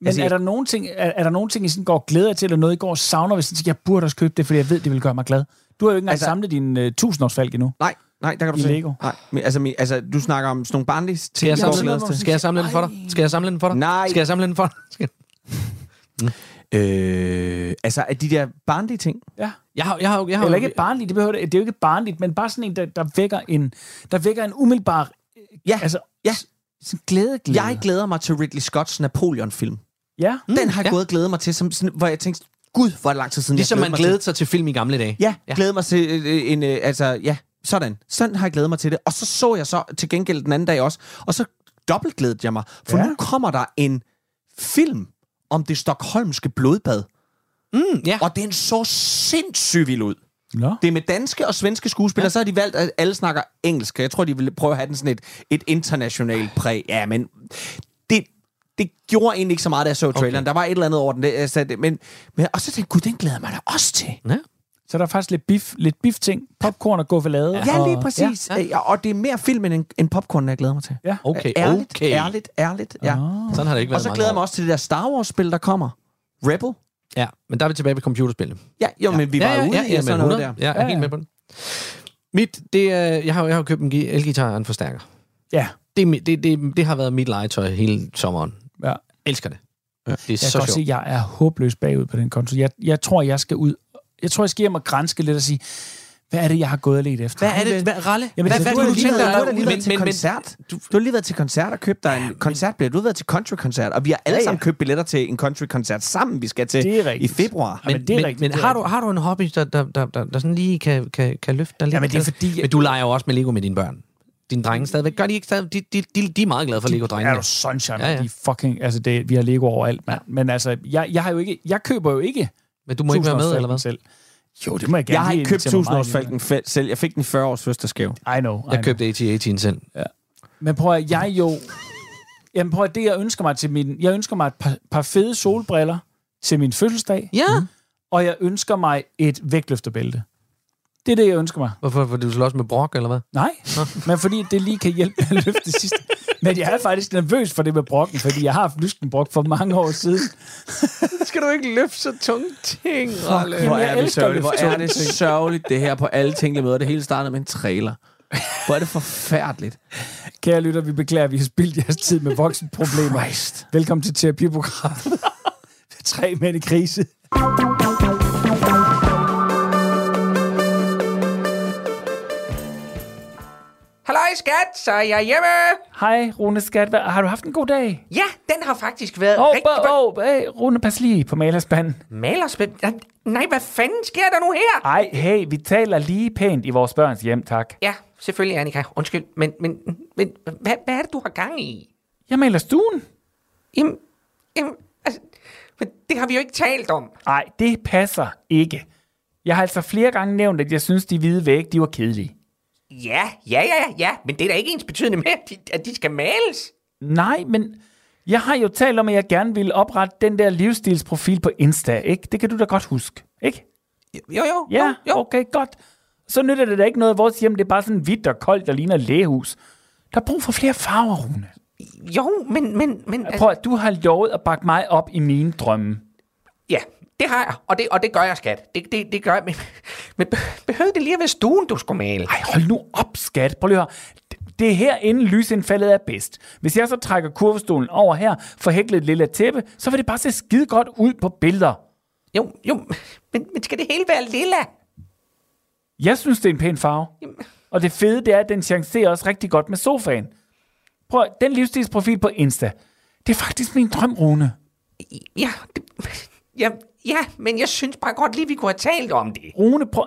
Speaker 3: Men
Speaker 5: Altså,
Speaker 3: er, der nogen ting, er, er der nogen ting, I sådan går og glæder jer til, eller noget, I går og savner, hvis I tænker, jeg burde også købe det, fordi jeg ved, det vil gøre mig glad? Du har jo ikke engang
Speaker 5: Altså-
Speaker 3: altså, samlet din uh, tusindårsfalk endnu.
Speaker 5: Nej, nej, der kan du
Speaker 3: I
Speaker 5: se.
Speaker 3: Lego.
Speaker 5: Nej, men, altså, men, altså, du snakker om sådan nogle barnlige
Speaker 4: Skal
Speaker 5: ting,
Speaker 4: jeg,
Speaker 5: jeg går
Speaker 4: samle
Speaker 5: glædes
Speaker 4: den?
Speaker 5: til.
Speaker 4: Skal jeg samle den for dig? Skal jeg samle den for dig?
Speaker 5: Nej.
Speaker 4: Skal jeg samle den for dig? Skal-
Speaker 5: Øh, altså, er de der barnlige ting?
Speaker 3: Ja.
Speaker 4: Jeg har, jeg har, jo- jeg har,
Speaker 3: Eller ikke barnligt, det, behøver, det det er jo ikke barnligt, men bare sådan en, der, der, vækker, en, der vækker en umiddelbar
Speaker 5: Ja, altså,
Speaker 3: altså,
Speaker 5: ja.
Speaker 3: s- sådan glæde, glæde.
Speaker 5: jeg glæder mig til Ridley Scotts Napoleon-film.
Speaker 3: Ja.
Speaker 5: Mm, den har jeg ja. gået og glædet mig til, som, sådan, hvor jeg tænkte, gud, hvor er det lang tid siden,
Speaker 4: Ligesom
Speaker 5: jeg
Speaker 4: man
Speaker 5: mig
Speaker 4: glædede sig til film i gamle dage.
Speaker 5: Ja,
Speaker 4: Ja.
Speaker 5: ja. glæder mig til øh, en... Øh, altså, ja, sådan. Sådan har jeg glædet mig til det. Og så så jeg så til gengæld den anden dag også, og så dobbeltglædede jeg mig, for ja.
Speaker 3: Ja.
Speaker 5: nu kommer der en film om det stokholmske blodbad.
Speaker 4: Mm, ja.
Speaker 5: Og den så sindssygt vild ud.
Speaker 3: Nå.
Speaker 5: Det er med danske og svenske skuespillere, ja. så har de valgt, at alle snakker engelsk. Jeg tror, de ville prøve at have den sådan et, et internationalt præg. Ja, men det, det gjorde egentlig ikke så meget, da jeg så traileren. Der var et eller andet over den. Det, altså, det, men, men, og så tænkte jeg, gud, den glæder jeg mig da også til.
Speaker 3: Så der er faktisk lidt biff, lidt biff ting, popcorn og guffelade.
Speaker 5: Ja,
Speaker 3: og,
Speaker 5: lige præcis. Ja, ja. Og det er mere film end, end popcorn, jeg glæder mig til. Øh,
Speaker 3: Ja.
Speaker 4: Okay,
Speaker 5: ærligt,
Speaker 4: okay.
Speaker 5: Ærligt, ærligt, ja.
Speaker 4: Sådan har det ikke
Speaker 5: Og
Speaker 4: været i
Speaker 5: så
Speaker 4: mange
Speaker 5: glæder jeg mig
Speaker 4: år.
Speaker 5: også til det der Star Wars-spil, der kommer. Rebel.
Speaker 4: Ja, men der er vi tilbage ved computerspillet.
Speaker 5: Ja, jo, men vi var ja, ja, ude ja, i
Speaker 4: ja,
Speaker 5: sådan
Speaker 4: men
Speaker 5: noget
Speaker 4: 100.
Speaker 5: der.
Speaker 4: Ja, jeg er helt med på det. Mit, det er, jeg har jo jeg har jo købt en gi- elgitar og en forstærker.
Speaker 3: Ja.
Speaker 4: Det, er mi- det, det, det har været mit legetøj hele sommeren.
Speaker 3: Ja.
Speaker 4: Elsker det. Ja. Det er
Speaker 3: Jeg
Speaker 4: så
Speaker 3: kan godt se,
Speaker 4: sjovt.
Speaker 3: at jeg er håbløs bagud på den konto. Jeg, jeg tror, jeg skal ud. Jeg tror, jeg skal hjem og grænske lidt og sige, hvad er det, jeg har gået og let efter?
Speaker 4: Hvad er det? Hvad, Ralle?
Speaker 3: Jamen,
Speaker 4: hvad,
Speaker 3: altså,
Speaker 4: hvad,
Speaker 3: du har
Speaker 4: er det, du
Speaker 3: lige
Speaker 4: tænker
Speaker 3: været-
Speaker 4: dig
Speaker 3: du har
Speaker 4: derude?
Speaker 5: lige været
Speaker 4: Men,
Speaker 5: til
Speaker 4: men, men,
Speaker 5: koncert. Du, du har lige været til koncert og købt dig en koncertbillet. Du har været til countrykoncert, og vi har alle
Speaker 3: Ja, ja.
Speaker 5: sammen købt billetter til en countrykoncert sammen, vi skal til
Speaker 3: Det er
Speaker 5: i
Speaker 3: rigtigt.
Speaker 5: februar.
Speaker 3: Men, men det er rigtigt.
Speaker 4: men
Speaker 3: det er
Speaker 4: har, du,
Speaker 3: rigtigt.
Speaker 4: har du en hobby, der, der, der, der, der sådan lige kan, kan, kan løfte dig lidt? Altså,
Speaker 3: Jamen, det er fordi,
Speaker 4: Men du leger jo også med Lego med dine børn. Dine drenge stadigvæk. Gør de ikke stadigvæk? De, de, de, de er meget glade for Lego-drengene.
Speaker 3: Er du sunshine?
Speaker 4: Ja,
Speaker 3: Ja,
Speaker 4: ja.
Speaker 3: ja. De fucking, altså det, vi har Lego overalt, mand. Men altså, jeg, jeg, har jo ikke, jeg køber jo ikke
Speaker 4: Men du må ikke være med,
Speaker 3: 1000-årsfalken
Speaker 4: eller hvad?
Speaker 3: Selv. Jo, det må jeg gerne.
Speaker 5: Jeg har
Speaker 3: lige
Speaker 5: ikke købt
Speaker 3: invitere mig
Speaker 5: 1000
Speaker 3: meget
Speaker 5: års falken fe- selv. Jeg fik den 40 års fødselsdagsgave.
Speaker 3: ind i. I know. I know.
Speaker 4: Jeg købte AT-AT'en selv.
Speaker 3: Men prøv at, jeg jo... Jamen prøv at, det jeg ønsker mig til min... Jeg ønsker mig et par, par fede solbriller til min fødselsdag,
Speaker 4: Ja.
Speaker 3: og jeg ønsker mig et vægtløfterbælte. Det er det, jeg ønsker mig.
Speaker 4: Hvorfor? Fordi du slås med brok, eller hvad?
Speaker 3: Nej, men fordi det lige kan hjælpe med at løfte det sidste. Men jeg er faktisk nervøs for det med brokken, fordi jeg har haft lyskenbrok for mange år siden.
Speaker 4: Skal du ikke løfte så tunge ting, Ralle?
Speaker 5: Hvor
Speaker 3: jeg
Speaker 5: er det
Speaker 3: elsker
Speaker 5: sørgeligt, hvor
Speaker 3: det.
Speaker 5: er det sørgeligt, det her på alle tænkelige måder. Det hele startede med en trailer. Hvor er det forfærdeligt.
Speaker 3: Kære lytter, vi beklager, at vi har spildt jeres tid med voksenproblemer. Christ. Velkommen til terapiprogrammet. Tre mænd i krise.
Speaker 11: Halløj skat, så er jeg hjemme.
Speaker 3: Hej, Rune Skat. Hvad- Har du haft en god dag?
Speaker 11: Ja, den har faktisk været
Speaker 3: Åh,
Speaker 11: oh, rigtig... Oh.
Speaker 3: oh, oh, hey, Rune, pas lige på malerspanden.
Speaker 11: Malerspil... Nej, hvad fanden sker der nu her?
Speaker 3: Ej, hey, vi taler lige pænt i vores børns hjem, tak.
Speaker 11: Ja, selvfølgelig, Annika. Undskyld, men, men, men hvad, hvad er det, du har gang i?
Speaker 3: Jeg maler stuen.
Speaker 11: Jamen, jamen altså, men det har vi jo ikke talt om.
Speaker 3: Nej, det passer ikke. Jeg har altså flere gange nævnt, at jeg synes, de hvide vægge, de var kedelige.
Speaker 11: Ja, ja, ja, ja, ja, men det er da ikke ens betydende med, at de, at de skal males.
Speaker 3: Nej, men jeg har jo talt om, at jeg gerne ville oprette den der livsstilsprofil på Insta, ikke? Det kan du da godt huske, ikke?
Speaker 11: Jo, jo,
Speaker 3: Ja,
Speaker 11: jo, jo.
Speaker 3: okay, godt. Så nytter det da ikke noget, at vores hjem det er bare sådan hvidt og koldt og ligner et lægehus. Der er brug for flere farver, Rune.
Speaker 11: Jo, men, men, men... Altså,
Speaker 3: Prøv at du har lovet at bakke mig op i mine drømme.
Speaker 11: ja, det har jeg, og det, og det gør jeg, skat. Det, det, det gør jeg, men, men behøvede det lige at være stuen, du skulle male?
Speaker 3: Ej, hold nu op, skat. Prøv lige at høre. Det- Det er herinde, lysindfaldet er bedst. Hvis jeg så trækker kurvestolen over her, for hæklet et lille tæppe, så vil det bare se skide godt ud på billeder.
Speaker 11: Jo, jo, men, men skal det hele være lilla?
Speaker 3: Jeg synes, det er en pæn farve. Og det fede, det er, at den chancerer også rigtig godt med sofaen. Prøv, at- den livsstilsprofil på Insta, det er faktisk min drøm, Rune.
Speaker 11: Ja, det, ja, ja, men jeg synes bare godt lige, vi kunne have talt om det.
Speaker 3: Rune, prøv,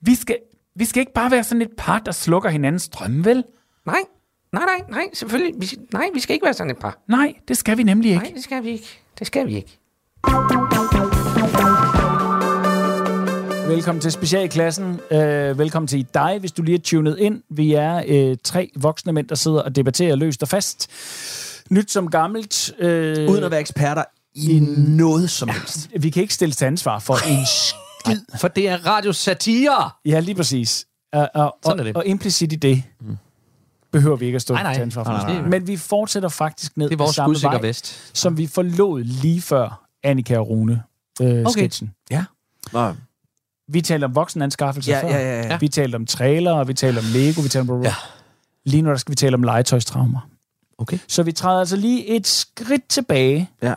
Speaker 3: vi skal, vi skal ikke bare være sådan et par, der slukker hinandens drømme, vel?
Speaker 11: Nej, nej, nej, nej, selvfølgelig. Vi, skal- nej, vi skal ikke være sådan et par.
Speaker 3: Nej, det skal vi nemlig ikke.
Speaker 11: Nej, det skal vi ikke. Det skal vi ikke.
Speaker 3: Velkommen til Specialklassen. Øh, velkommen til dig, hvis du lige er tunet ind. Vi er øh, tre voksne mænd, der sidder og debatterer løst og fast. Nyt som gammelt. Øh,
Speaker 5: Uden at være eksperter i
Speaker 4: Mm.
Speaker 5: noget som helst.
Speaker 3: Vi kan ikke stille til ansvar for en skid.
Speaker 4: For det er radio satire.
Speaker 3: Ja, lige præcis. Og, og,
Speaker 4: Sådan er
Speaker 3: og,
Speaker 4: det. Mm.
Speaker 3: og implicit i det behøver vi ikke at stå
Speaker 4: Nej, nej.
Speaker 3: til ansvar for.
Speaker 4: Nej, nej, nej.
Speaker 3: Men vi fortsætter faktisk ned
Speaker 4: Det er
Speaker 3: ad
Speaker 4: vores
Speaker 3: samme
Speaker 4: skudsikker
Speaker 3: vej,
Speaker 4: vest.
Speaker 3: som vi forlod lige før Annika og Rune øh, okay. sketchen.
Speaker 5: Nå,
Speaker 3: Vi talte om voksenanskaffelser
Speaker 5: Ja,
Speaker 3: før.
Speaker 5: ja, ja, ja.
Speaker 3: Vi talte om trailere, vi talte om Lego, vi talte om... Ja. Lige nu der skal vi tale om legetøjstraumer.
Speaker 4: Okay.
Speaker 3: Så vi træder altså lige et skridt tilbage.
Speaker 5: Ja.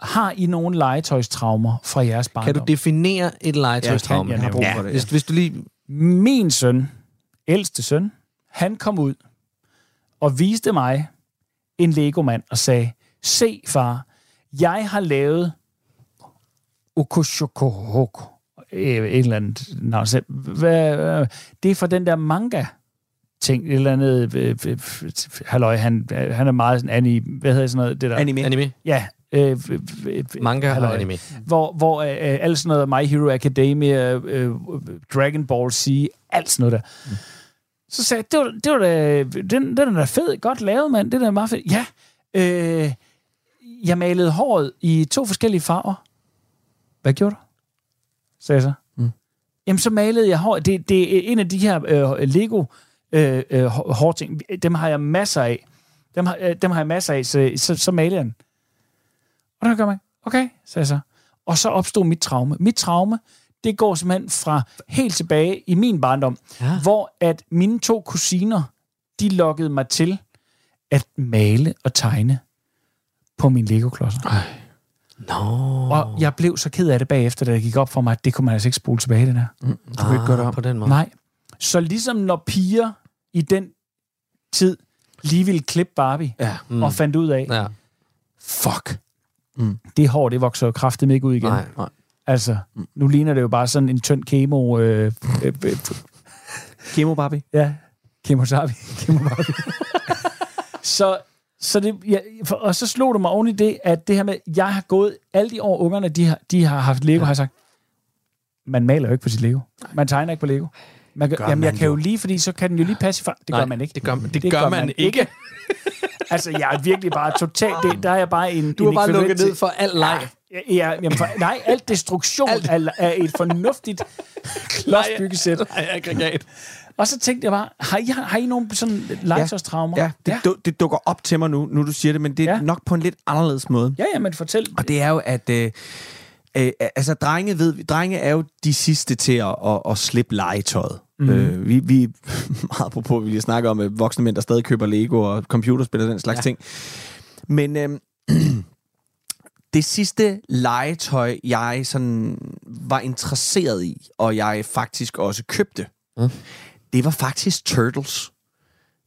Speaker 3: Har I nogle legetøjstraumer fra jeres barndom?
Speaker 4: Kan du definere et legetøjstraume?
Speaker 3: Ja, kan jeg.
Speaker 5: brug
Speaker 3: Ja.
Speaker 5: for det.
Speaker 4: Hvis, hvis du lige...
Speaker 3: Min søn, ældste søn, han kom ud og viste mig en legomand og sagde, se far, jeg har lavet Okoshokohoko. Øh, Et eller andet navn. Så, Hvad, øh, det er fra den der manga ting, et eller andet, øh, øh, øh, halløj, han, han er meget sådan anime, hvad hedder sådan noget, det der?
Speaker 5: Anime.
Speaker 4: Anime.
Speaker 3: Ja. Øh, øh, øh,
Speaker 4: Manga og
Speaker 3: halløj
Speaker 4: anime.
Speaker 3: hvor, hvor øh, øh, alt sådan noget, My Hero Academia, øh, øh, Dragon Ball Z, alt sådan noget der. Så sagde jeg, det var, det var da, den, den er da fed, godt lavet, mand, det er da meget fedt. Ja, øh, jeg malede håret i to forskellige farver. Hvad gjorde du? Sagde jeg så. Mm. Jamen, så malede jeg håret. Det, det er en af de her øh, Lego øh, øh, hår- hårting. Dem har jeg masser af. Dem har, øh, dem har jeg masser af, så, så, så malede jeg den. Og der gør man, okay, sagde jeg så. Og så opstod mit traume. Mit traume, det går simpelthen fra helt tilbage i min barndom, ja. hvor at mine to kusiner, de lokkede mig til at male og tegne på mine legoklodser. No. Og jeg blev så ked af det bagefter, da det gik op for mig, at det kunne man altså ikke spole tilbage, det der. Mm.
Speaker 5: Du kan ikke gøre det om.
Speaker 4: Ah, på den måde.
Speaker 3: Nej. Så ligesom når piger i den tid lige ville klippe Barbie,
Speaker 5: Ja.
Speaker 3: mm. og fandt ud af,
Speaker 4: Ja.
Speaker 3: fuck, mm. det hår, det vokser jo kraftigt ikke ud igen.
Speaker 4: Nej, nej.
Speaker 3: Altså, nu ligner det jo bare sådan en tynd kemo... Øh, øh, øh,
Speaker 5: Kemo Barbie.
Speaker 3: ja, kemosabi. kemosabi. så, så det, ja, for, og så slog det mig oven i det, at det her med, jeg har gået alle de år, ungerne, de har, de har haft Lego, ja. har jeg sagt, man maler jo ikke på sit Lego. Man tegner ikke på Lego. Man, gør jamen, jeg kan jo lige, fordi så kan den jo lige passe i far- Det gør man ikke.
Speaker 4: Det gør, det det gør, man, man ikke.
Speaker 3: Altså, jeg er virkelig bare totalt... Det, der er jeg bare en... Du
Speaker 5: har bare lukket ned for
Speaker 3: al leg. Ja, ja, jamen for, nej, alt destruktion alt. Af, af et fornuftigt klodsbyggesæt.
Speaker 4: Nej, aggregat.
Speaker 3: Og så tænkte jeg bare, har I, har I nogen sådan legetøjstraumer?
Speaker 5: Ja, det, ja.
Speaker 3: ja.
Speaker 5: Du, det dukker op til mig nu, nu du siger det, men det er ja.
Speaker 3: Ja.
Speaker 5: nok på en lidt anderledes måde.
Speaker 3: ja, ja, men fortæl.
Speaker 5: Og det er jo, at... Øh, øh, altså, drenge, ved, vi- drenge er jo de sidste til at, at, at slippe legetøjet. Mm.
Speaker 4: Mhm.
Speaker 5: Øh, vi, vi meget på, vi lige snakker om øh, voksne mænd, der stadig køber Lego og computerspil og den slags ja. ting. Men øh, det sidste legetøj, jeg sådan var interesseret i, og jeg faktisk også købte, mm. det var faktisk Turtles.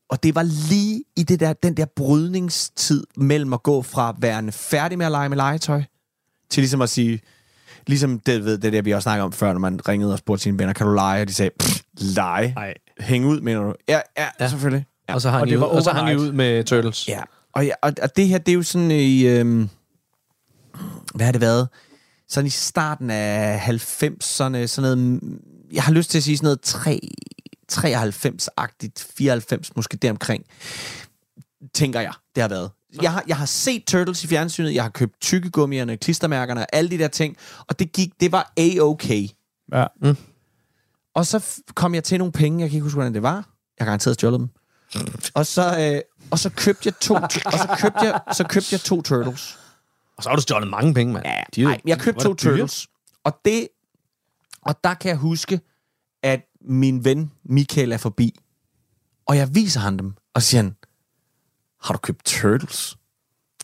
Speaker 5: Og det var lige i det der, den der brydningstid mellem at gå fra at være færdig med at lege med legetøj, til ligesom at sige, ligesom det, ved, det der, vi også snakkede om før, når man ringede og spurgte sine venner, kan du lege? Og de sagde, "Pff, lege?
Speaker 4: Nej.
Speaker 5: Hæng ud, mener du? Ja, ja, ja. selvfølgelig. Ja.
Speaker 4: Og så hang,
Speaker 3: Og
Speaker 4: I,
Speaker 3: det
Speaker 4: ud,
Speaker 3: var
Speaker 4: og så hang I
Speaker 3: overnight.
Speaker 4: ud med Turtles.
Speaker 5: Ja, og, ja, og, og det her, det er jo sådan i... Øhm, hvad har det været? Sådan i starten af 90'erne, sådan noget... mm, Jeg har lyst til at sige sådan noget 3, 93-agtigt, 94 måske deromkring, tænker jeg, det har været. Jeg har, jeg har set Turtles i fjernsynet, jeg har købt tykkegummierne, klistermærkerne og alle de der ting, og det gik, det var A-okay.
Speaker 3: Ja.
Speaker 5: Mm. Og så f- kom jeg til nogle penge, jeg kan ikke huske, hvordan det var. Jeg har garanteret stjålet dem. Og så, øh, og så købte jeg to, og så købte jeg, så købte jeg to turtles.
Speaker 4: Og så har du stjålet mange penge, mand. Ja,
Speaker 5: Nej, jeg købte to turtles. Og det, og der kan jeg huske, at min ven Michael er forbi, og jeg viser ham dem, og siger han, har du købt turtles?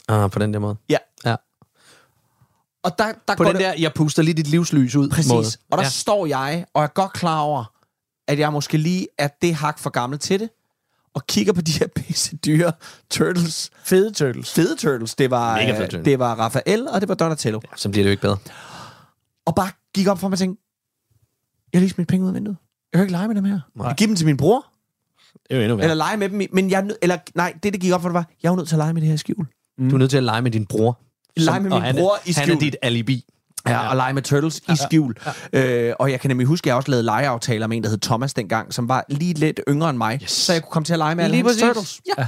Speaker 4: Ah, på den der måde.
Speaker 5: Ja.
Speaker 4: Ja.
Speaker 5: Og der, der
Speaker 4: På
Speaker 5: går
Speaker 4: den
Speaker 5: det,
Speaker 4: der, jeg puster lige dit livslys ud.
Speaker 5: præcis.
Speaker 4: Måde.
Speaker 5: Og der ja.
Speaker 4: ja.
Speaker 5: står jeg, og jeg er godt klar over, at jeg måske lige er det hak for gammel til det, og kigger på de her pisse dyre turtles,
Speaker 3: Fede turtles.
Speaker 5: fede turtles. Det var,
Speaker 4: Mega fede
Speaker 5: øh,
Speaker 4: turtles.
Speaker 5: det var Raphael, og det var Donatello.
Speaker 4: Så bliver det jo ikke bedre.
Speaker 5: og bare gik op for mig og tænkte, jeg har lige smidt penge ud af vinduet. Jeg kan ikke lege med dem her. Nej. Jeg giver dem til min bror,
Speaker 4: Det er jo endnu
Speaker 5: ja. eller
Speaker 4: værre.
Speaker 5: lege med dem. i- Men jeg, er nød- eller, nej, det, det gik op for mig, var, jeg er jo nødt til at lege med det her skjul.
Speaker 4: Du er nødt til at lege med din bror.
Speaker 5: Lege med
Speaker 4: og
Speaker 5: min
Speaker 4: han er-
Speaker 5: bror i
Speaker 4: Han er
Speaker 5: skjul.
Speaker 4: dit alibi.
Speaker 5: Ja, og lege med Turtles ja, i skjul. Ja, ja. Øh, og jeg kan nemlig huske, at jeg også lavede legeaftaler med en, der hed Thomas dengang, som var lige lidt yngre end mig, yes. så jeg kunne komme til at lege med alle hans Turtles. Ja,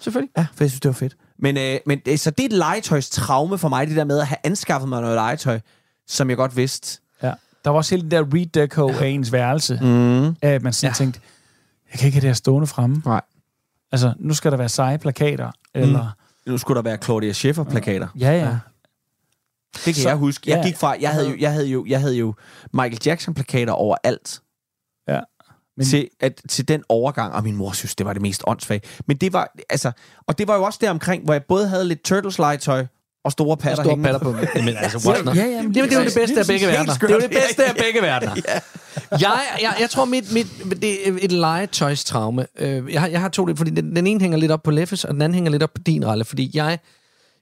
Speaker 5: selvfølgelig. Ja, for jeg synes, det var fedt. Men, øh, men øh, så det er et legetøjstraume for mig, det der med at have anskaffet mig noget legetøj, som jeg godt vidste.
Speaker 3: Ja. Der var også hele den der redeco af ens værelse. Mm. At man sådan ja. tænkte, jeg kan ikke have det her stående fremme.
Speaker 5: Nej.
Speaker 3: Altså, nu skal der være seje plakater, eller...
Speaker 5: Nu skulle der være Claudia Schiffer-plakater.
Speaker 3: Ja, ja.
Speaker 5: Det kan så, jeg huske. Jeg
Speaker 3: ja.
Speaker 5: gik fra, jeg havde jo, jeg havde jo, jeg havde jo Michael Jackson-plakater overalt.
Speaker 3: Ja.
Speaker 5: Men...
Speaker 3: Men-
Speaker 5: Til, at, til den overgang, og min mor synes, det var det mest åndssvage. Men det var, altså, og det var jo også der omkring, hvor jeg både havde lidt turtles-legetøj og store patter
Speaker 4: Store
Speaker 5: hængende.
Speaker 4: patter på. Men altså, what not?
Speaker 3: Ja, ja, men
Speaker 4: Jamen, det er jo det bedste af begge
Speaker 5: Helt
Speaker 4: verdener.
Speaker 5: skørt.
Speaker 4: Det er jo det bedste af begge verdener. jeg, jeg, jeg tror, mit, mit det er et legetøjstraume. Øh, Jeg har, jeg har to lidt, fordi den, den ene hænger lidt op på Leffes, og den anden hænger lidt op på din, Ralle. Fordi jeg,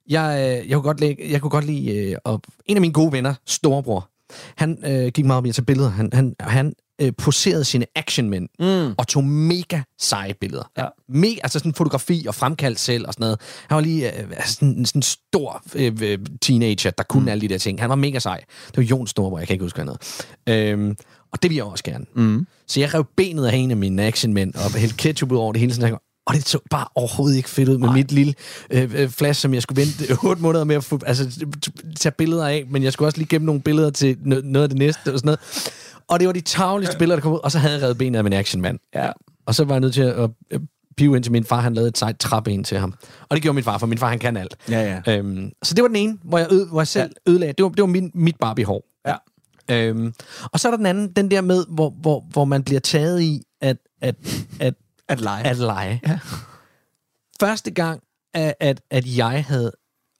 Speaker 4: jeg, øh, jeg, kunne, godt lide, jeg kunne godt lide... øh, Og en af mine gode venner, storebror, han øh, gik meget op i at tage billeder. Han, han, han øh, poserede sine actionmænd mm. og tog mega seje billeder. Ja. Me, altså sådan fotografi og fremkaldt selv og sådan noget. Han var lige øh, altså sådan, sådan en stor øh, øh, teenager, der kunne mm. alle de der ting. Han var mega sej. Det var Jon Storborg, jeg kan ikke huske noget. Øhm, og det vil jeg også gerne. Mm. Så jeg rev benet af en af mine actionmænd og hældte ketchup ud over det hele. Sådan, jeg- og det så bare overhovedet ikke fedt ud med mit lille øh, øh, flash, som jeg skulle vente 8 måneder med at få, altså, t- tage billeder af. Men jeg skulle også lige gemme nogle billeder til no- noget af det næste og sådan noget. Og det var de tavligste billeder, der kom ud. Og så havde jeg revet benet af min actionmand. Ja. Og så var jeg nødt til at, at pive, indtil min far han lavede et sejt træben til ham. Og det gjorde min far, for min far han kan alt.
Speaker 5: Ja,
Speaker 4: ja. Øhm, så det var den ene, hvor jeg, øde, hvor jeg selv ja. ødelagde. Det var, det var min, mit Barbie-hår.
Speaker 5: Ja.
Speaker 4: Øhm, og så er der den anden, den der med, hvor, hvor, hvor man bliver taget i at, at, at,
Speaker 5: At lege.
Speaker 4: at lege. Ja. Første gang, at, at, at jeg havde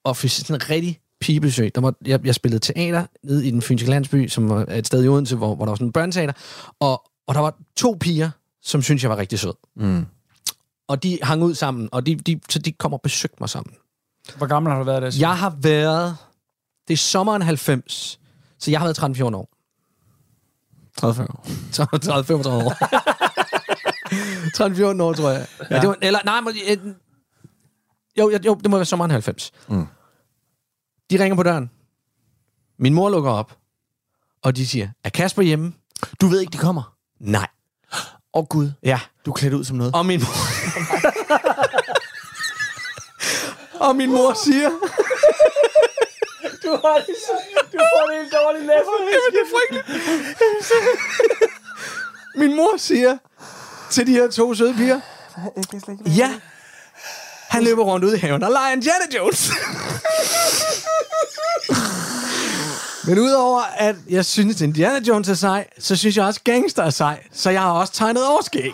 Speaker 4: office, sådan en rigtig pigebesøg. Der var, jeg, jeg spillede teater nede i den fynske landsby, som var et sted i Odense, hvor, hvor der var sådan en børneteater. Og, og der var to piger, som syntes, jeg var rigtig sød.
Speaker 5: Mm.
Speaker 4: Og de hang ud sammen, og de, de, så de kom og besøgte mig sammen.
Speaker 3: Hvor gammel har du været der?
Speaker 4: Jeg har været... Det er sommeren 90, så jeg har været 13-14 år.
Speaker 5: 30 år.
Speaker 4: 30-35 år. 13-14 år, tror jeg. Ja. Ja, det var, eller, nej, men, øh, jo, jo, jo, det må være sommeren 90.
Speaker 5: Mm.
Speaker 4: De ringer på døren. Min mor lukker op, og de siger, er Kasper hjemme?
Speaker 5: Du ved ikke, de kommer.
Speaker 4: Nej.
Speaker 5: Åh oh, gud,
Speaker 4: Ja.
Speaker 5: du er klædt ud som noget.
Speaker 4: Og min mor... og min mor siger...
Speaker 12: Du har det, så- du har det helt dårligt, Lasse.
Speaker 4: det er frygteligt. Min mor siger til de her to søde piger, ja, han løber rundt ude i haven og leger en Janet Jones. Men udover at jeg synes, Indiana Jones er sej, så synes jeg også, Gangster er sej. Så jeg har også tegnet overskæg.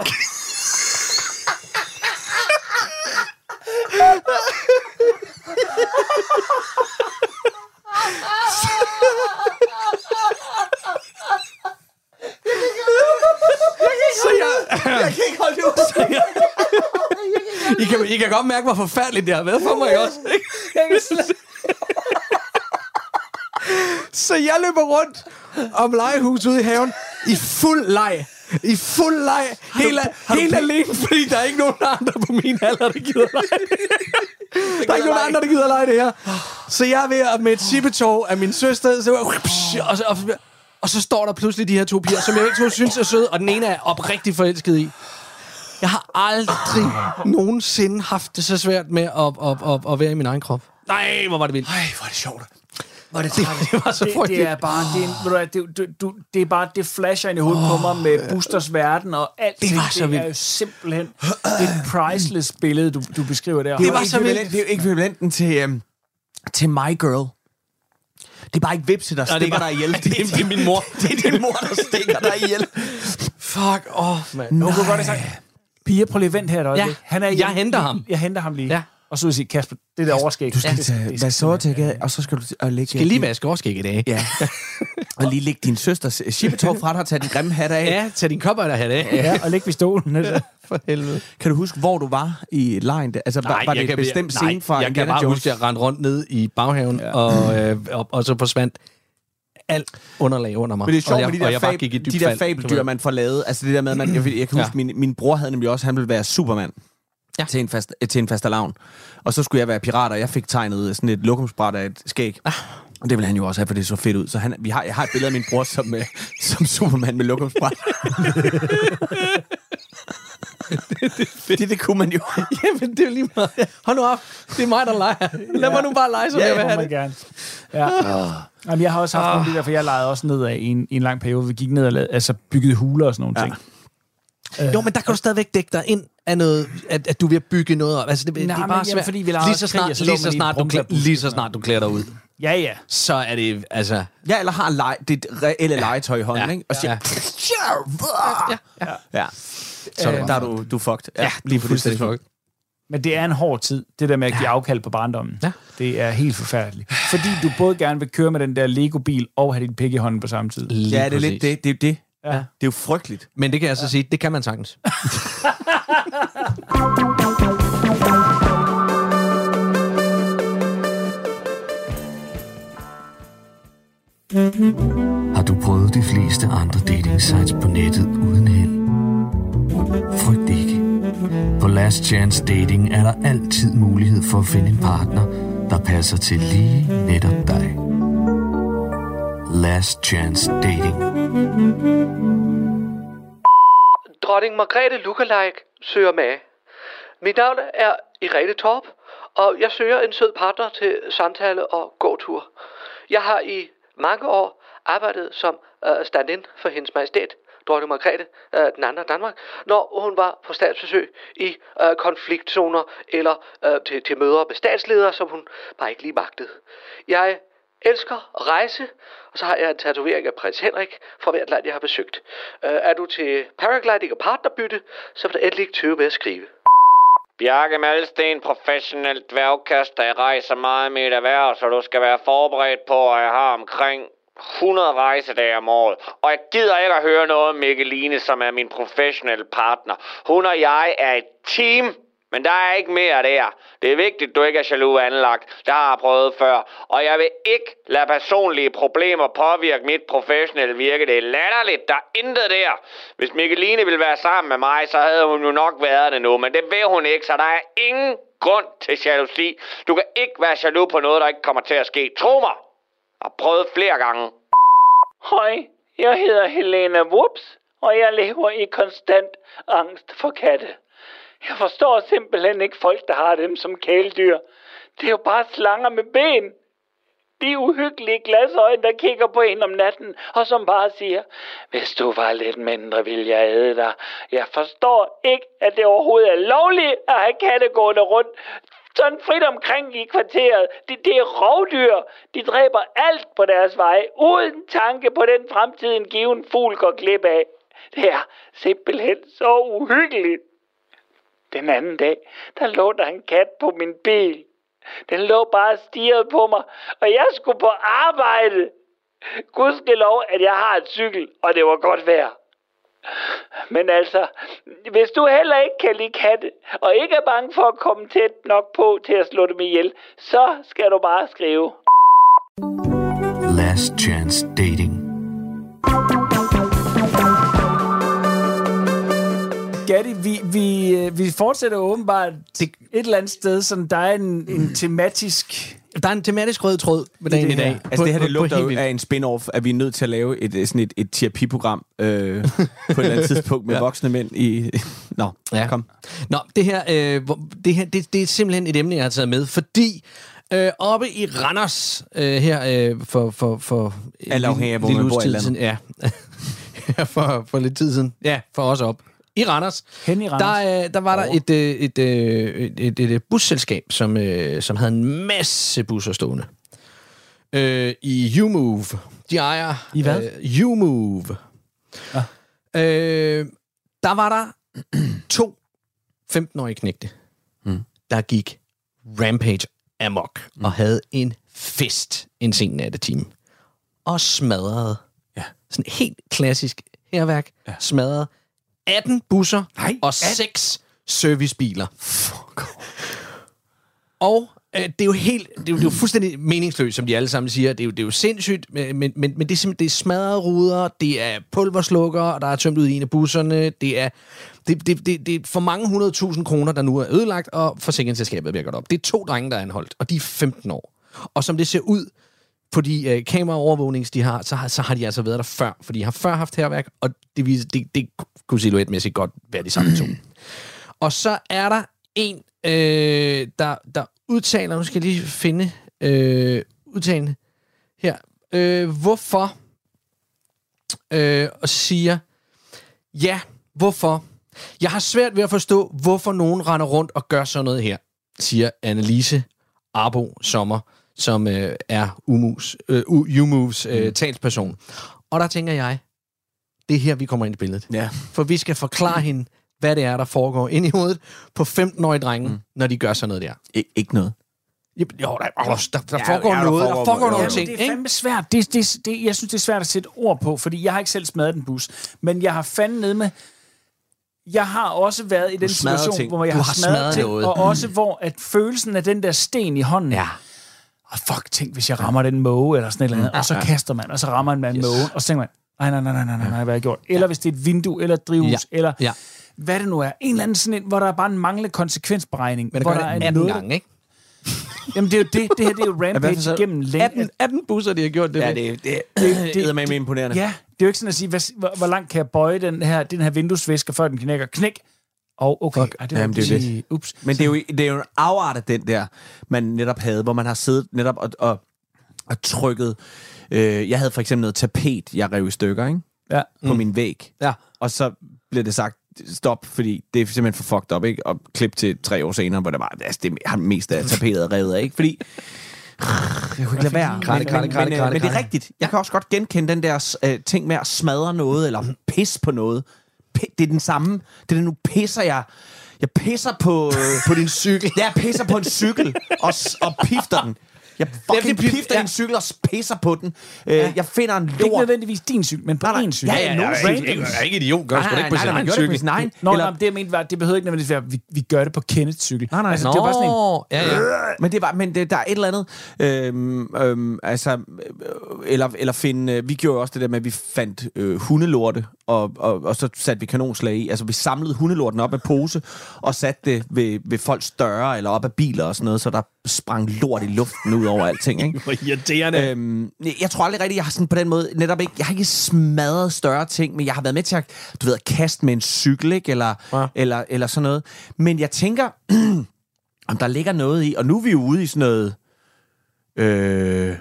Speaker 4: Så jeg... Jeg kan ikke holde det ud. Så jeg, I, kan, I kan godt mærke, hvor forfærdeligt det har været for mig ikke også. ikke? Så jeg løber rundt om legehuset ude i haven i fuld leg. I fuld leg. Helt, du, helt alene, fordi der er ikke nogen andre på min alder, der gider lege. Der er ikke nogen andre, der gider lege det her. Så jeg er ved at med et chippetog af min søster, så jeg, og, så, og, og så står der pludselig de her to piger, som jeg ikke to synes er søde, og den ene er jeg oprigtigt forelsket i. Jeg har aldrig nogensinde haft det så svært med at, at, at, at være i min egen krop. Nej, hvor var det vildt.
Speaker 5: Ej, hvor er det sjovt.
Speaker 12: Var det
Speaker 4: Det, det var så
Speaker 3: det,
Speaker 4: frygteligt.
Speaker 3: det er bare, det, er, en- ved du, hvad, det, du, du, det er bare, det flasher ind i hovedet på mig med Busters verden og alt det.
Speaker 4: var så
Speaker 3: det er
Speaker 4: vildt.
Speaker 3: jo simpelthen et priceless billede, du, du beskriver der.
Speaker 5: Det, var
Speaker 4: var så
Speaker 5: så vildt. Det er jo ekvivalenten til, øhm, til My Girl. Det er bare ikke vipse, der stikker dig ihjel. Det er, det er min mor. det er din mor, der stikker dig ihjel.
Speaker 4: Fuck off, mand.
Speaker 3: Hun kunne godt have sagt, Pia, prøv lige at vente her et øjeblik.
Speaker 4: Ja,
Speaker 3: Han er
Speaker 4: jeg
Speaker 3: hjemme.
Speaker 4: henter ham.
Speaker 3: Jeg henter ham lige.
Speaker 4: Ja.
Speaker 3: Og så vil jeg sige, Kasper, det der overskæg.
Speaker 5: Du skal
Speaker 3: det-
Speaker 5: tage
Speaker 3: det-
Speaker 5: vasortækket af, og så skal du t- og lægge...
Speaker 4: Skal lige vaske overskæg i dag.
Speaker 5: Ja. og lige lægge din søsters øh, chippetov fra dig og tage din grimme hat af.
Speaker 4: Ja, tag din kopper der her dag.
Speaker 3: Ja, og ligge ved stolen. altså. Ja.
Speaker 4: For helvede.
Speaker 5: Kan du huske, hvor du var i lejen? der? Altså, nej, var, var det et bestemt
Speaker 4: nej,
Speaker 5: scene fra
Speaker 4: jeg kan
Speaker 5: Indiana
Speaker 4: bare
Speaker 5: Jones?
Speaker 4: huske, at jeg rendte rundt ned i baghaven, ja. og, øh, og, og, så forsvandt alt underlag under mig.
Speaker 5: Men det er
Speaker 4: og
Speaker 5: sjovt
Speaker 4: jeg,
Speaker 5: med de
Speaker 4: og
Speaker 5: der,
Speaker 4: jeg bare gik i
Speaker 5: fab,
Speaker 4: dybt
Speaker 5: de der
Speaker 4: fald.
Speaker 5: fabeldyr, man får lavet. Altså det der med, at man, jeg, jeg kan
Speaker 4: Ja.
Speaker 5: huske, min, min bror havde nemlig også, han ville være supermand.
Speaker 4: Ja.
Speaker 5: Ja. Til en, fast, øh, til en fast lavn. Og så skulle jeg være pirat, og jeg fik tegnet sådan et lokumsbræt af et skæg. Ah. Og det ville han jo også have, for det så fedt ud. Så han, vi har, jeg har et billede af min bror som, øh, som supermand med lokumsbræt. det, det, det kunne man jo.
Speaker 4: Jamen, det er jo lige meget. Hold nu op. Det er mig, der leger. Lad mig nu bare lege, som
Speaker 3: Ja,
Speaker 4: jeg
Speaker 3: det
Speaker 4: vil
Speaker 3: må
Speaker 4: have
Speaker 3: man
Speaker 4: det.
Speaker 3: gerne. Ja. Jamen, jeg har også haft nogle af de der, for jeg legede også nedad i en, i en lang periode. Vi gik ned og lavede, altså byggede huler og sådan nogle ja. ting.
Speaker 4: Jo, men der kan du stadigvæk dække dig ind af noget, at, at du er ved at bygge noget op. Altså, det,
Speaker 3: Nej,
Speaker 4: det er
Speaker 3: men
Speaker 4: bare
Speaker 3: jamen,
Speaker 4: svært.
Speaker 3: fordi vi leger
Speaker 4: lige,
Speaker 3: også
Speaker 4: så
Speaker 3: krig,
Speaker 4: snart,
Speaker 3: og så lå
Speaker 4: lige,
Speaker 3: man i
Speaker 4: så
Speaker 3: en
Speaker 4: snart du, klæder,
Speaker 3: brumbabuske.
Speaker 4: lige så snart du klæder dig ud,
Speaker 3: Ja, ja.
Speaker 4: så er det, altså...
Speaker 5: Ja, eller har lege, det reelle ja. legetøj i hånden,
Speaker 4: Ja.
Speaker 5: ja. ikke? Og siger,
Speaker 4: Ja.
Speaker 5: ja.
Speaker 4: Ja, ja.
Speaker 5: ja. Så er det der er du, du er fucked. Ja, lige på det tidspunkt.
Speaker 3: Men det er en hård tid, det der med at give afkald på barndommen.
Speaker 4: Ja.
Speaker 3: Det er helt forfærdeligt. Fordi du både gerne vil køre med den der Lego-bil og have din pik i hånden på samme tid.
Speaker 4: Lige
Speaker 5: Ja, det er
Speaker 4: præcis.
Speaker 5: lidt det. Det er jo det.
Speaker 3: Ja.
Speaker 5: Det er jo frygteligt.
Speaker 4: Men det kan jeg så sige, det kan man sagtens.
Speaker 13: Har du prøvet de fleste andre dating sites på nettet uden held? Frygt ikke. På Last Chance Dating er der altid mulighed for at finde en partner, der passer til lige netop dig. Last Chance Dating.
Speaker 14: Dronning Margrethe Lookalike søger med. Mit navn er Irene Torp, og jeg søger en sød partner til samtale og gåtur. Jeg har i mange år arbejdet som øh, stand-in for hendes majestæt,
Speaker 15: dronning Margrethe øh, den anden af Danmark, når hun var på statsbesøg i øh, konfliktzoner eller øh, til, til møder med statsledere, som hun bare ikke lige magtede. Jeg elsker at rejse, og så har jeg en tatovering af prins Henrik fra hvert land, jeg har besøgt. Øh, er du til paragliding og partnerbytte, så vil du endelig ikke tøve med at skrive.
Speaker 16: Bjarke Malsten, professionel dværgkaster. Jeg rejser meget med et erhverv, så du skal være forberedt på, at jeg har omkring 100 rejsedage om året. Og jeg gider ikke at høre noget om Mikkeline, som er min professionelle partner. Hun og jeg er et team, men der er ikke mere der. Det er vigtigt, du ikke er jaloux anlagt. Der har jeg prøvet før. Og jeg vil ikke lade personlige problemer påvirke mit professionelle virke. Det er latterligt. Der er intet der. Hvis Mikkeline ville være sammen med mig, så havde hun jo nok været det nu. Men det vil hun ikke, så der er ingen grund til jalousi. Du kan ikke være jaloux på noget, der ikke kommer til at ske. Tro mig. Jeg har prøvet flere gange.
Speaker 10: Hej, jeg hedder Helena Wups, og jeg lever i konstant angst for katte. Jeg forstår simpelthen ikke folk, der har dem som kæledyr. Det er jo bare slanger med ben. De uhyggelige glasøjne, der kigger på en om natten, og som bare siger, hvis du var lidt mindre, ville jeg æde dig. Jeg forstår ikke, at det overhovedet er lovligt at have katte gående rundt sådan frit omkring i kvarteret. Det, det er rovdyr. De dræber alt på deres vej, uden tanke på den fremtid, en given fugl går glip af. Det er simpelthen så uhyggeligt. Den anden dag, der lå der en kat på min bil. Den lå bare og stirrede på mig, og jeg skulle på arbejde. Gudskelov, at jeg har et cykel, og det var godt vejr. Men altså, hvis du heller ikke kan lide katte, og ikke er bange for at komme tæt nok på til at slå dem ihjel, så skal du bare skrive.
Speaker 13: Last Chance Dating.
Speaker 3: Gatti, vi, vi, øh, vi fortsætter åbenbart det, et eller andet sted, som der er en, en tematisk...
Speaker 4: Der er en tematisk rød tråd ved dagen i dag.
Speaker 5: Altså det her, det lugter jo
Speaker 4: helt
Speaker 5: af en spin-off, at vi er nødt til at lave et, øh, sådan et, et terapiprogram øh, på et eller andet tidspunkt med
Speaker 4: Ja.
Speaker 5: voksne mænd i... Nå, ja. kom.
Speaker 4: Nå, det her, øh, hvor- det, her det, det er simpelthen et emne, jeg har taget med, fordi øh, oppe i Randers, øh, her øh, for, for, for en
Speaker 5: Alt afhængig af, hvor man
Speaker 4: uges
Speaker 5: bor i
Speaker 4: tid
Speaker 5: landet.
Speaker 4: siden, ja. Her for, for lidt tid siden. Ja, for os op. I Randers.
Speaker 3: Hen i Randers.
Speaker 4: Der, øh, der var der et, øh, et, øh, et, et, et, et busselskab, som, øh, som havde en masse busser stående. Øh, I U-Move. De ejer...
Speaker 3: I hvad?
Speaker 4: Øh, U-Move. Ja. Øh, der var der to 15-årige knægte, mm. der gik rampage amok mm. og havde en fest en sen nattetime. Og smadrede. Ja. Sådan helt klassisk herværk. Ja. Smadrede 18 busser Nej, og 6 servicebiler. Fuck. Og øh, det er jo helt, det er jo, det er jo fuldstændig meningsløst, som de alle sammen siger. Det er jo, det er jo sindssygt, men, men, men men det er simpelthen det er smadrede ruder, det er pulverslukker, der er tømt ud i en af busserne, det er, det, det, det, det er for mange 100.000 kroner, der nu er ødelagt, og forsikringsselskabet bliver godt op. Det er to drenge, der er anholdt, og de er 15 år. Og som det ser ud på de øh, kameraovervågnings, de har, så, har, så har de altså været der før, for de har før haft herværk, og det, vis- det, det kunne silhuetmæssigt godt være de samme to. Og så er der en, øh, der, der udtaler, nu skal jeg lige finde øh, udtalen her, øh, hvorfor, øh, og siger, ja, hvorfor? Jeg har svært ved at forstå, hvorfor nogen render rundt og gør sådan noget her, siger Annelise Arbo Sommer, som øh, er Umus, øh, U- U-Moves øh, talsperson. Og der tænker jeg, det er her, vi kommer ind i billedet.
Speaker 5: Ja.
Speaker 4: For vi skal forklare hende, hvad det er, der foregår inde i hovedet på 15-årige drenge, mm. når de gør sådan noget der.
Speaker 5: Ik- ikke noget.
Speaker 4: Jo, der, der, der, der
Speaker 3: Ja,
Speaker 4: foregår
Speaker 3: ja,
Speaker 4: noget. Der foregår nogle ting.
Speaker 3: Det er fandme svært. Det, det, det, jeg synes, det er svært at sætte ord på, fordi jeg har ikke selv smadret en bus. Men jeg har fandme nede med... Jeg har også været i den
Speaker 5: smadrer
Speaker 3: situation,
Speaker 5: ting.
Speaker 3: hvor jeg
Speaker 5: Du
Speaker 3: har,
Speaker 5: har
Speaker 3: smadret,
Speaker 5: smadret
Speaker 3: ting,
Speaker 5: noget.
Speaker 3: og
Speaker 5: Mm.
Speaker 3: også hvor at følelsen af den der sten i hånden... Ja. Og fuck, tænk, hvis jeg rammer den måge eller sådan et eller andet,
Speaker 5: Mm.
Speaker 3: og så
Speaker 5: Ja.
Speaker 3: kaster man, og så rammer man yes.
Speaker 5: Yes.
Speaker 3: mågen, og så tænker man, nej, nej, nej, nej, nej, nej, hvad har jeg gjort? Eller hvis det er et vindue, eller et drivhus,
Speaker 4: Ja.
Speaker 3: eller
Speaker 4: Ja.
Speaker 3: hvad det nu er. En eller anden sådan en, hvor der er bare en manglende konsekvensberegning.
Speaker 4: Men der
Speaker 3: hvor
Speaker 4: gør det 18 gange, ikke?
Speaker 3: Jamen, det er jo det. Det her, det er jo rampage igennem længe.
Speaker 4: 18, 18 Altså, busser, de har gjort det.
Speaker 5: Ja,
Speaker 4: med.
Speaker 5: det, det, det, det, det er med imponerende.
Speaker 3: Ja, det er jo ikke sådan at sige, hvad, hvor, hvor langt kan jeg bøje den her, den her vinduesvisker, før den knækker. Knæk! Og okay, ej, det var
Speaker 5: Jamen, det er jo
Speaker 3: lige-
Speaker 5: det.
Speaker 3: Ups.
Speaker 5: Men det er, jo, det er jo en afart af den der, man netop havde, hvor man har siddet netop og, og, og trykket. Øh, jeg havde for eksempel noget tapet, jeg rev i stykker, ikke? ja. på mm. min væg. Ja. Og så blev det sagt, stop, fordi det er simpelthen for fucked up, ikke? Og klip til tre år senere, hvor der bare, altså, det har det meste af tapeteret revet af, ikke? Fordi, jeg kunne ikke lade være.
Speaker 4: Kratte,
Speaker 5: Men-
Speaker 4: kratte,
Speaker 5: men-
Speaker 4: kratte,
Speaker 5: men, øh,
Speaker 4: kratte,
Speaker 5: Men det er
Speaker 4: kratte.
Speaker 5: rigtigt. Jeg kan også godt genkende den der øh, ting med at smadre noget, eller pisse på noget. P- det er den samme. Det er den, nu pisser jeg. Jeg pisser på, øh, på din cykel. Ja, jeg pisser på en cykel, og, s- og pifter den. Jeg fucking pifter ja. en cykel og s- pisser på den. Øh, Jeg finder en lort. Ikke nødvendigvis din cykel, men på nej, nej. en cykel. Ja, ja, ja, ja,
Speaker 3: Random.
Speaker 5: ikke idiot.
Speaker 3: Nej, nej, nej, nej, man gør det på sin egen. Nå,
Speaker 5: Eller-
Speaker 3: nej, men det jeg mente var, at det behøvede ikke nødvendigvis være, at vi, vi gør det på Kenneths cykel. Nej, nej, altså, det var bare sådan en,
Speaker 4: Øh.
Speaker 5: ja, ja. Men, det var, men det, der er et eller andet... Øhm, øhm, altså, øh, eller, eller finde... øh, Vi gjorde også det der med, at vi fandt øh, hundelorte, og, og, og så satte vi kanonslag i. Altså, vi samlede hundelorten op af pose, og satte det ved, ved folks døre, eller op af biler og sådan noget, så der sprang lort i luften ud over alting, ikke?
Speaker 3: Hvor irriterende.
Speaker 5: Øhm, jeg tror aldrig rigtigt, jeg har sådan på den måde netop ikke, jeg har ikke smadret større ting, men jeg har været med til at, du ved, at kaste med en cykel, ikke? Eller, ja. eller, eller sådan noget. Men jeg tænker, om der ligger noget i, og nu er vi jo ude i sådan noget, øh,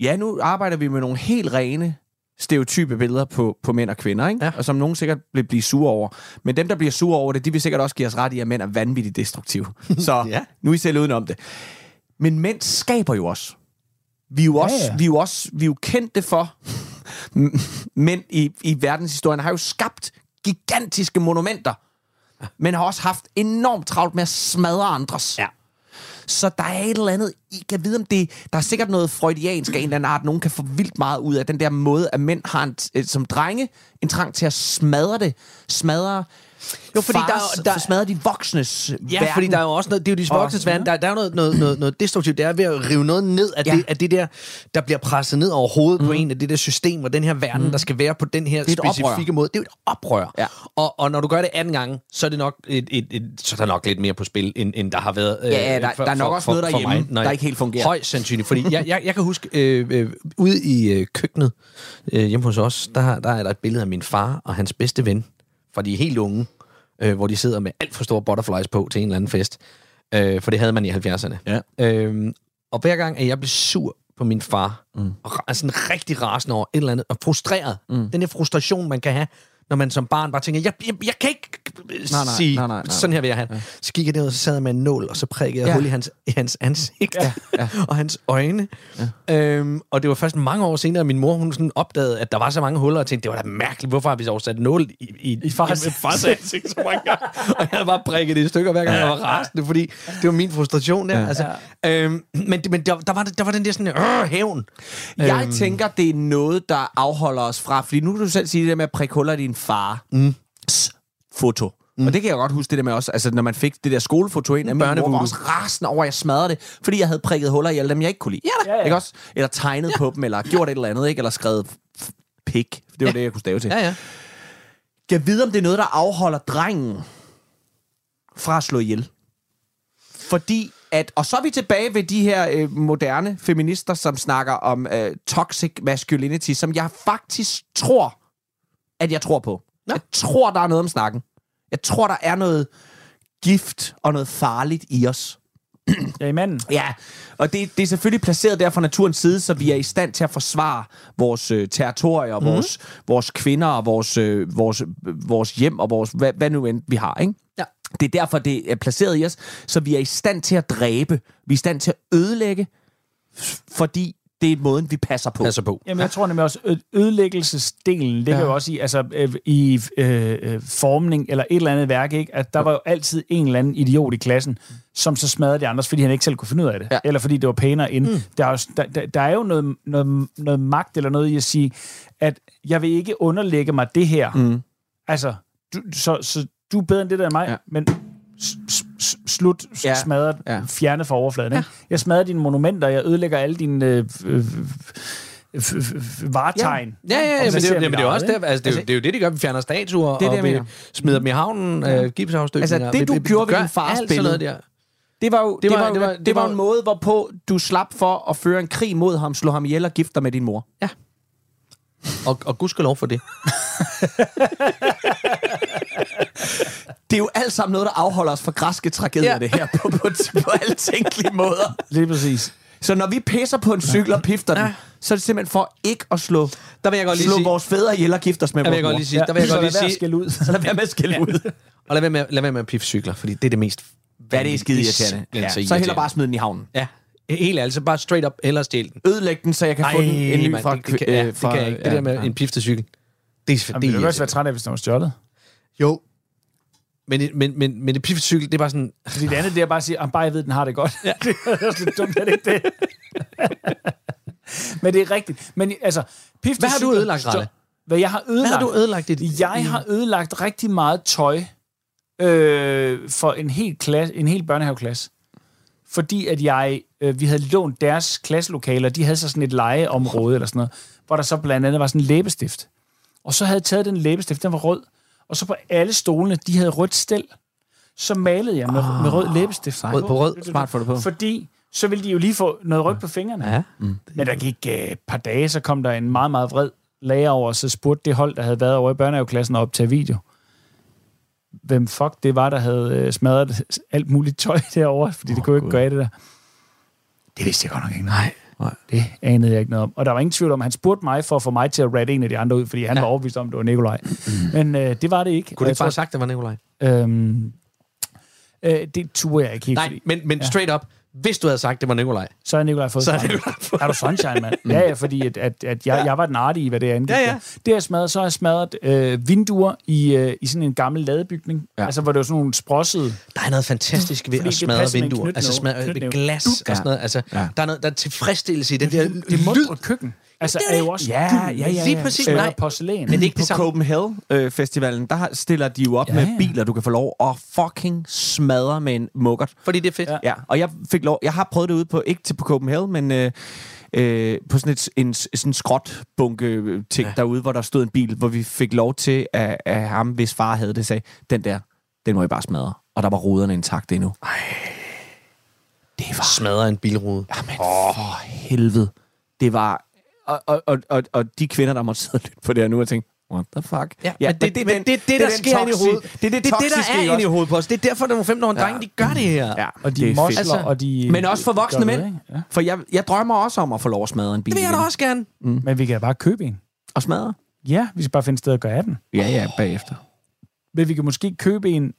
Speaker 5: ja, nu arbejder vi med nogle helt rene stereotype billeder på, på mænd og kvinder, ikke? Ja. og som nogen sikkert vil blive sure over. Men dem, der bliver sure over det, de vil sikkert også give os ret i, at mænd er vanvittigt destruktive. Så ja. nu er I selv udenom det. Men mænd skaber jo også. Vi er jo, også, ja, ja. Vi er jo, også, vi er jo kendte for, mænd i, i verdenshistorien har jo skabt gigantiske monumenter, men har også haft enormt travlt med at smadre andres. Ja. Så der er et eller andet, I kan vide om det, der er sikkert noget freudiansk af en eller anden art, nogen kan få vildt meget ud af den der måde, at mænd har en, øh, som drenge en trang til at smadre det, smadre jo, fordi fars, der, der, smadre de voksnes
Speaker 4: Ja,
Speaker 5: verden.
Speaker 4: fordi der er jo også noget, det er jo de
Speaker 5: Og-
Speaker 4: voksnes verden, der, der er jo noget, noget, noget, noget destruktivt, det er ved at rive noget ned af, ja. det, af det der, der bliver presset ned over hovedet mm. på en, af det der system og den her verden, mm. der skal være på den her
Speaker 5: Det er et
Speaker 4: specifikke
Speaker 5: oprør.
Speaker 4: måde. Det er jo et oprør. Ja. Og, og når du gør det anden gange, så er det nok et, et, et, så er der nok lidt mere på spil, end, end der har været øh,
Speaker 5: Ja, ja, der- der er nok også noget derhjemme,
Speaker 4: Nå, ja.
Speaker 5: der ikke helt fungerer.
Speaker 4: Højst sandsynligt, fordi jeg, jeg, jeg kan huske, øh, øh, ude i øh, køkkenet øh, hjemme hos os, der, der er der et billede af min far og hans bedste ven, for de er helt unge, øh, hvor de sidder med alt for store butterflies på til en eller anden fest. Øh, for det havde man i 70'erne. Ja. Øhm, og hver gang, at jeg blev sur på min far, mm. og ra- sådan rigtig rasende over et eller andet, og frustreret. Mm. Den der frustration, man kan have, når man som barn bare tænker, jeg, jeg, jeg kan ikke øh,
Speaker 5: Nej, nej,
Speaker 4: sige,
Speaker 5: nej, nej, nej.
Speaker 4: sådan her vil jeg have. Ja. Så gik jeg ned, og så sad jeg med en nål, og så prikkede jeg
Speaker 5: Ja.
Speaker 4: ja. hul i hans, i hans ansigt ja. Ja. og hans øjne. Ja. Øhm, og det var først mange år senere, at min mor hun sådan opdagede, at der var så mange huller, og tænkte, det var da mærkeligt, hvorfor har vi så sat nål i, i, I
Speaker 3: fars- ansigt
Speaker 4: så mange gange. og jeg havde bare prikket det i stykker, hver gang jeg var rasende, fordi det var min frustration der.
Speaker 5: Ja.
Speaker 4: Ja. Altså, øhm, men men der, der, var, der var den der sådan, øh, hævn.
Speaker 5: Jeg
Speaker 4: Øhm.
Speaker 5: tænker, det er noget, der afholder os fra, fordi nu kan du selv sige det der med at prikke huller i din far. Mm. Foto. Mm. Og det kan jeg godt huske, det der med også, altså når man fik det der skolefoto ind, at min mor var
Speaker 4: Børnevoodoo.
Speaker 5: også rasende over, at jeg smadrede det, fordi jeg havde prikket huller i alle dem, jeg ikke kunne lide. Ja,
Speaker 4: ja.
Speaker 5: Ikke også? Eller tegnet ja. på dem, eller gjort et eller andet, ikke? Eller skrevet f- pik. Det var ja. det, jeg kunne stave til.
Speaker 4: Ja, ja.
Speaker 5: Jeg ved, om det er noget, der afholder drengen fra at slå ihjel. Fordi at, og så er vi tilbage ved de her øh, moderne feminister, som snakker om øh, toxic masculinity, som jeg faktisk tror, at jeg tror på. Ja. Jeg tror, der er noget om snakken. Jeg tror, der er noget gift og noget farligt i os.
Speaker 3: Ja, i manden.
Speaker 5: Ja, og det, det er selvfølgelig placeret der fra naturens side, så vi er i stand til at forsvare vores øh, territorier, mm. vores, vores kvinder, og vores, øh, vores, øh, vores hjem og vores, hvad, hvad nu end vi har, ikke? Ja. Det er derfor, det er placeret i os, så vi er i stand til at dræbe, vi er i stand til at ødelægge, f- fordi det er måden, vi passer på. Passer
Speaker 4: på.
Speaker 3: Jamen, jeg tror nemlig også, ø- ødelæggelsesdelen ligger
Speaker 5: Ja.
Speaker 3: ja. jo også i, altså øh, i øh, øh, formning eller et eller andet værk, ikke? at der var jo altid en eller anden idiot i klassen, som så smadrede de andres, fordi han ikke selv kunne finde ud af det, Mm. ja. eller fordi det var pænere end. Mm. Der, er jo, s- der- der, der er jo noget, noget, noget magt eller noget i at sige, at jeg vil ikke underlægge mig det her. Mm. Altså, du, så, så du er bedre end det der end mig, ja. men s- s- s- slut, ja. smadret, ja. fjerne fra overfladen. Ikke? Ja. Jeg smadrer dine monumenter, jeg ødelægger alle dine øh, øh, f- f- f- varetegn.
Speaker 4: Ja, ja, ja,
Speaker 3: Og
Speaker 4: ja men, det,
Speaker 3: placerer
Speaker 4: er-
Speaker 3: dem
Speaker 4: jamen, det er
Speaker 3: i
Speaker 4: jo også
Speaker 3: lejret,
Speaker 4: der, altså, det, er, jo- det er jo det, de gør. Vi fjerner statuer
Speaker 5: Det er det, jeg
Speaker 4: og vi
Speaker 5: mener.
Speaker 4: smider dem i havnen, øh, gipsafstøbninger.
Speaker 5: Altså, det, du
Speaker 4: vi,
Speaker 5: gjorde ved
Speaker 4: gør
Speaker 5: din fars
Speaker 4: alt sådan noget
Speaker 5: billede.
Speaker 4: der.
Speaker 5: Det var jo, det
Speaker 4: Det
Speaker 5: var,
Speaker 4: var-
Speaker 5: jo-
Speaker 4: det var-
Speaker 5: det
Speaker 4: det
Speaker 5: var
Speaker 4: var-
Speaker 5: en måde, hvorpå du slap for at føre en krig mod ham, slå ham ihjel og gifte dig med din mor.
Speaker 4: Ja. Og, og gudskelov for det.
Speaker 5: Det er jo alt sammen noget, der afholder os fra græske tragedier, ja. det her, på, på, på alle tænkelige måder.
Speaker 3: Lige præcis.
Speaker 5: Så når vi pisser på en cykel og pifter den, så er det simpelthen for ikke at slå,
Speaker 4: der vil jeg godt lige
Speaker 5: slå
Speaker 4: sige-
Speaker 5: vores fædre ihjel og gifte os med
Speaker 4: Der vil jeg
Speaker 5: vores
Speaker 4: godt
Speaker 5: mor.
Speaker 4: lige sige, der vil jeg
Speaker 5: Så
Speaker 4: godt
Speaker 5: lad
Speaker 4: lige
Speaker 5: være at
Speaker 4: sige-
Speaker 5: skælde ud. Så lad være med at skælde ud.
Speaker 4: Og lad være med, lad være med at piffe cykler, fordi det er det mest...
Speaker 5: Ja, det er skide irriterende. Ja, så heller bare smide den i havnen.
Speaker 4: Ja, helt altså bare straight up, eller stjæl den.
Speaker 5: Ødelæg den, så jeg kan få den en ny
Speaker 4: mand,
Speaker 5: fra...
Speaker 4: det, det, kan, ja, det kan jeg ikke. Det der med en piftet cykel. Det er,
Speaker 3: Jamen,
Speaker 4: det
Speaker 3: det
Speaker 4: er
Speaker 3: ville også være
Speaker 4: irriterende.
Speaker 3: træt af, hvis den var stjålet.
Speaker 4: Jo. Men, men, men, men en piftet cykel, det er bare sådan...
Speaker 3: Fordi det andet, det er bare at sige, at bare jeg ved, den har det godt. Ja. det er også lidt dumt, er det ikke det? Men det er rigtigt. Men altså, pif
Speaker 4: Hvad har du ødelagt, Ralle?
Speaker 3: Hvad jeg har ødelagt?
Speaker 4: har du ødelagt
Speaker 3: dit? Jeg har ødelagt rigtig meget tøj øh, for en hel, klasse, en hel børnehaveklasse. Fordi at jeg, øh, vi havde lånt deres klasselokaler, de havde så sådan et legeområde eller sådan noget, hvor der så blandt andet var sådan en læbestift. Og så havde jeg taget den læbestift, den var rød, og så på alle stolene, de havde rødt stel, så malede jeg med, oh, med rød læbestift.
Speaker 4: Rød Ah, på rød. Smart får du på.
Speaker 3: Fordi så ville de jo lige få noget rødt på fingrene.
Speaker 4: Ja.
Speaker 3: Men der gik øh, et par dage, så kom der en meget, meget vred lærer over, og så spurgte det hold, der havde været over i børnehaveklassen og optage video. Hvem fuck det var, der havde øh, smadret alt muligt tøj derovre, fordi oh, det kunne jo ikke gøre af det der. Det vidste jeg godt nok ikke. Nej. Det anede jeg ikke noget om. Og der var ingen tvivl om, han spurgte mig for at få mig til at ratte en af de andre ud, fordi han ja. var overbevist om, at det var Nikolaj. Men øh, det var det ikke.
Speaker 4: Kunne
Speaker 3: Og
Speaker 4: du
Speaker 3: jeg
Speaker 4: ikke bare have sagt, det var Nikolaj?
Speaker 3: tror- Øhm, øh, det turde jeg ikke helt.
Speaker 4: Nej,
Speaker 3: fordi-
Speaker 4: men, men
Speaker 3: Ja.
Speaker 4: straight up, hvis du havde sagt, det var Nikolaj.
Speaker 3: Så er Nikolaj fået
Speaker 4: Så er
Speaker 3: straf.
Speaker 4: Nikolaj
Speaker 3: Er du sunshine, mand? Ja, ja, fordi at, at, at jeg, jeg var den artige, hvad det angik.
Speaker 4: Ja, ja.
Speaker 3: Det har jeg smadret, så har jeg smadret øh, vinduer i, øh, i sådan en gammel ladebygning. Ja. Altså, hvor det var sådan nogle sprossede...
Speaker 4: Der er noget fantastisk ved
Speaker 3: Fordi
Speaker 4: at
Speaker 3: det
Speaker 4: smadre
Speaker 3: passer med en
Speaker 4: vinduer. Altså
Speaker 3: knytnæve.
Speaker 4: smadre ved
Speaker 3: Knytnæve.
Speaker 4: glas og sådan noget. Altså,
Speaker 3: Ja.
Speaker 4: der, er noget, der er tilfredsstillelse i den der
Speaker 3: Det mundre køkken. Altså,
Speaker 4: Det er
Speaker 3: er jo
Speaker 4: det.
Speaker 3: også
Speaker 5: Ja,
Speaker 3: gyldent.
Speaker 5: ja, ja, ja.
Speaker 3: Lige præcis.
Speaker 5: Øh,
Speaker 3: Nej. porcelæn.
Speaker 5: Men det er ikke på det Copenhagen-festivalen, der har- stiller de jo op ja, med biler, du kan få lov at fucking smadre med en mukkert.
Speaker 4: Fordi det er fedt.
Speaker 5: Ja, ja. og jeg fik lov, jeg har prøvet det ude på, ikke til på Copenhagen, men øh, øh, på sådan et, en, sådan en skrotbunke øh, ting ja. derude, hvor der stod en bil, hvor vi fik lov til, at, at ham, hvis far havde det, sagde, den der, den må I bare smadre. Og der var ruderne intakte endnu.
Speaker 4: Ah,
Speaker 5: Ej. Det var...
Speaker 4: Smadre en bilrude.
Speaker 5: Jamen, oh. for helvede. Det var... Og, og, og, og, og de kvinder, der måtte sidde og lytte på det her nu, og tænke, what the fuck?
Speaker 4: Ja, ja, men det, det, men det, det, det,
Speaker 5: er
Speaker 4: der
Speaker 5: den
Speaker 4: sker inde i
Speaker 5: toxi-
Speaker 4: hovedet.
Speaker 5: Det er
Speaker 4: det,
Speaker 5: det,
Speaker 4: det der
Speaker 5: toxiske,
Speaker 4: er
Speaker 5: ikke
Speaker 4: inde i
Speaker 5: også?
Speaker 4: hovedet på os. Det er derfor, at nogle 15-årige drenge, de gør det her.
Speaker 5: Ja,
Speaker 3: Og de
Speaker 5: det er fedt. Altså,
Speaker 3: mosler, og de-
Speaker 5: Men også for
Speaker 3: de
Speaker 5: voksne
Speaker 3: gør
Speaker 5: mænd.
Speaker 3: noget, ikke? Ja.
Speaker 5: For jeg, jeg drømmer også om at få lov at smadre en bil.
Speaker 4: Det vil jeg da
Speaker 5: igen.
Speaker 4: også gerne.
Speaker 5: Mm.
Speaker 3: Men vi kan bare købe en.
Speaker 5: Og smadre?
Speaker 3: Ja, vi skal bare finde et sted at gøre af den.
Speaker 5: Ja, ja, bagefter.
Speaker 3: Men vi kan måske købe en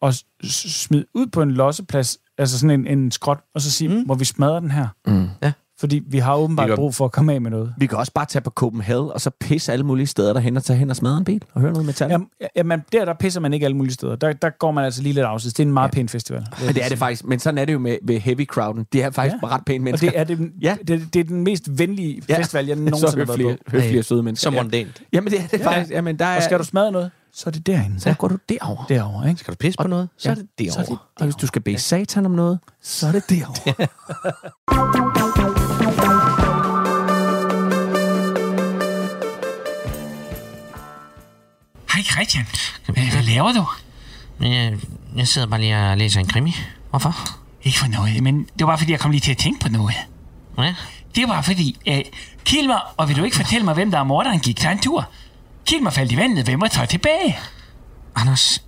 Speaker 3: og s- s- smide ud på en losseplads, altså sådan en, en skrot, og så sige, mm. må vi smadre den her?
Speaker 5: Mm.
Speaker 4: Ja.
Speaker 3: Fordi vi har åbenbart
Speaker 5: Vi kan-
Speaker 3: brug for at komme af med noget.
Speaker 5: Vi kan også bare tage på Copenhagen, og så pisse alle mulige steder derhen, og tage hen og smadre en bil, og høre noget metal.
Speaker 3: Jamen, jamen der, der pisser man ikke alle mulige steder. Der, der går man altså lige lidt afsides. Det er en meget ja. pæn festival. vil jeg
Speaker 5: Men det er
Speaker 3: sige.
Speaker 5: det faktisk. Men sådan er det jo med, med heavy crowden. Det er faktisk ja. ret pæne mennesker.
Speaker 3: Og det er, det, ja. det, det er den mest venlige
Speaker 5: Ja.
Speaker 3: festival, jeg
Speaker 5: Så
Speaker 3: nogensinde har
Speaker 5: høflige-
Speaker 3: været på.
Speaker 5: høflige og søde mennesker.
Speaker 4: Som
Speaker 5: Ja.
Speaker 4: mondænt.
Speaker 5: Jamen, det er det
Speaker 3: Ja.
Speaker 5: faktisk. Jamen, der er...
Speaker 3: Og skal du smadre noget, så er det derinde.
Speaker 5: Så går du derover.
Speaker 3: Derovre, ikke?
Speaker 4: Skal du pisse på noget? Så er det
Speaker 5: Så er
Speaker 4: derovre.
Speaker 5: det derovre. Og hvis du skal bede satan om noget, så er det derovre.
Speaker 17: Hej Christian. Hvad laver du? Jeg, jeg sidder bare lige og læser en krimi. Hvorfor? Ikke for noget, men det var bare fordi, jeg kom lige til at tænke på noget. Ja? Det var fordi, øh, Kilmer, og vil du ikke fortælle mig, hvem der er morderen, gik til en tur? Kilmer faldt i vandet, hvem var så tilbage? Anders,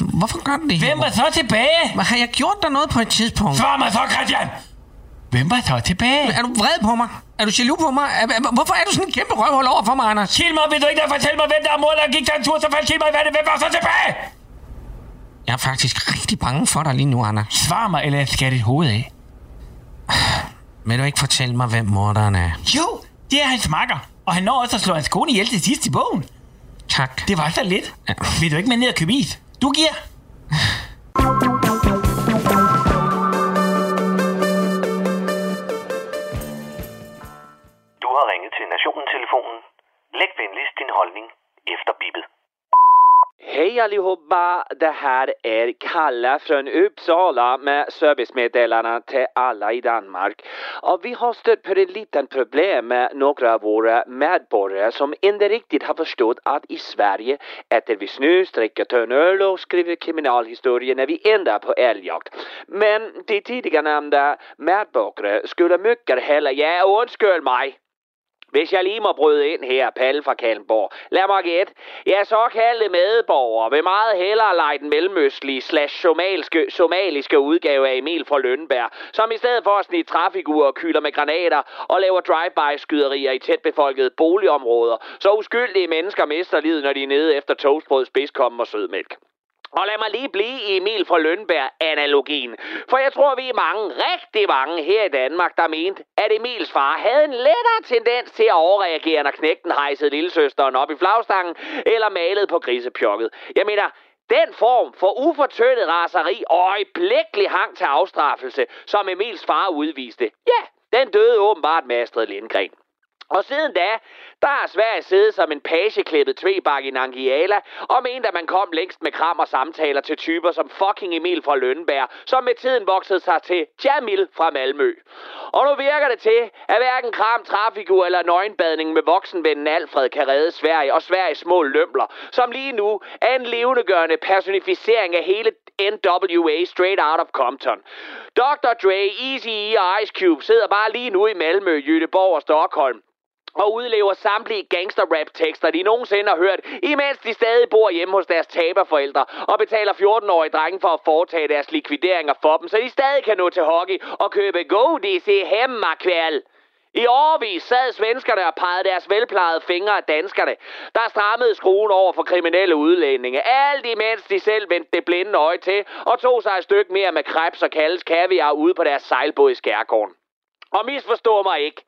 Speaker 17: hvorfor gør du det Hvem var så tilbage? Hvad har jeg gjort dig noget på et tidspunkt? Svar mig så, Christian! Hvem var så tilbage?
Speaker 11: Er du vred på mig? Er du jaloux på mig? Er, er, hvorfor er du sådan en kæmpe røvhul over for mig, Anders?
Speaker 17: Kilmer, vil du ikke da fortælle mig, hvem der er morderen, gik til en tur, så faldt Kilmer i vandet, hvem var så tilbage?
Speaker 11: Jeg er faktisk rigtig bange for dig lige nu, Anders.
Speaker 17: Svar mig, eller jeg skal have dit hoved af.
Speaker 11: Vil du ikke fortælle mig, hvem morderen er?
Speaker 17: Jo, det er hans makker. Og han når også at slå hans kone ihjel til sidst i bogen.
Speaker 11: Tak.
Speaker 17: Det var så lidt. Ja. Vil du ikke med ned og købe is? Du giver.
Speaker 18: Du har ringet til Nationen-telefonen. Læg venligst din holdning efter bippet.
Speaker 10: Hej allihopa! Det här är Kalle från Uppsala med servicemeddelarna till alla i Danmark. Och vi har stött på ett litet problem med några av våra medborgare som inte riktigt har förstått att i Sverige äter vi snus, dricker tunn öl och skriver kriminalhistorier när vi ändrar på älgjakt. Men de tidigare nämnda medborgare skulle mycket hellre, ja, undskyld mig, Hvis jeg lige må bryde ind her, Palle fra Kalmborg. Lad mig gætte. Jeg såkaldte medborgere vil meget hellere lege den mellemøstlige slash somaliske, somaliske udgave af Emil fra Lønneberg, som i stedet for at snitte træfigurer, kylder med granater og laver drive-by-skyderier i tætbefolkede boligområder, så uskyldige mennesker mister livet, når de er nede efter toastbrød, spidskommen og sødmælk. Og lad mig lige blive i Emil fra Lønberg-analogien. For jeg tror, vi er mange, rigtig mange her i Danmark, der mente, at Emils far havde en lettere tendens til at overreagere, når knægten hejsede lillesøsteren op i flagstangen eller malede på grisepjokket. Jeg mener, den form for ufortyndet raseri og øjeblikkelig hang til afstraffelse, som Emils far udviste, ja, den døde åbenbart med Astrid Lindgren. Og siden da, der har Sverige siddet som en pageklippet tvebak i Nangiala, og mente, at man kom længst med kram og samtaler til typer som fucking Emil fra Lønneberg, som med tiden voksede sig til Jamil fra Malmø. Og nu virker det til, at hverken kram, træfigur eller nøgenbadning med voksenvennen Alfred kan redde Sverige og Sveriges små lømler, som lige nu er en levendegørende personificering af hele NWA Straight Out of Compton. Dr. Dre, Eazy-E og Ice Cube sidder bare lige nu i Malmø, Jødeborg og Stockholm og udlever samtlige gangster-rap-tekster, de nogensinde har hørt, imens de stadig bor hjemme hos deres taberforældre og betaler 14-årige drenge for at foretage deres likvideringer for dem, så de stadig kan nå til hockey og købe Go DC Hemmakvæl. I årvis sad svenskerne og pegede deres velplejede fingre af danskerne, der strammede skruen over for kriminelle udlændinge. Alt imens de selv vendte det blinde øje til og tog sig et stykke mere med krebs og kaldes kaviar ude på deres sejlbåd i skærgården. Og misforstå mig ikke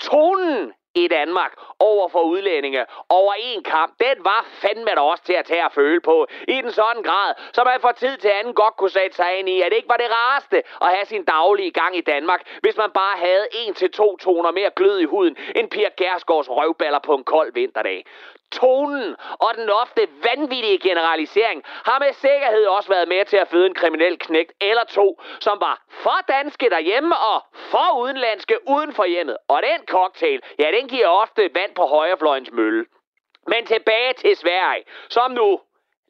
Speaker 10: tonen i Danmark over for udlændinge over en kamp, den var fandme da også til at tage og føle på. I den sådan grad, så man fra tid til anden godt kunne sætte sig ind i, at det ikke var det rareste at have sin daglige gang i Danmark, hvis man bare havde en til to toner mere glød i huden end Pia Gersgaards røvballer på en kold vinterdag. Tonen og den ofte vanvittige generalisering har med sikkerhed også været med til at føde en kriminel knægt eller to, som var for danske derhjemme og for udenlandske uden for hjemmet. Og den cocktail, ja den giver ofte vand på højrefløjens mølle. Men tilbage til Sverige, som nu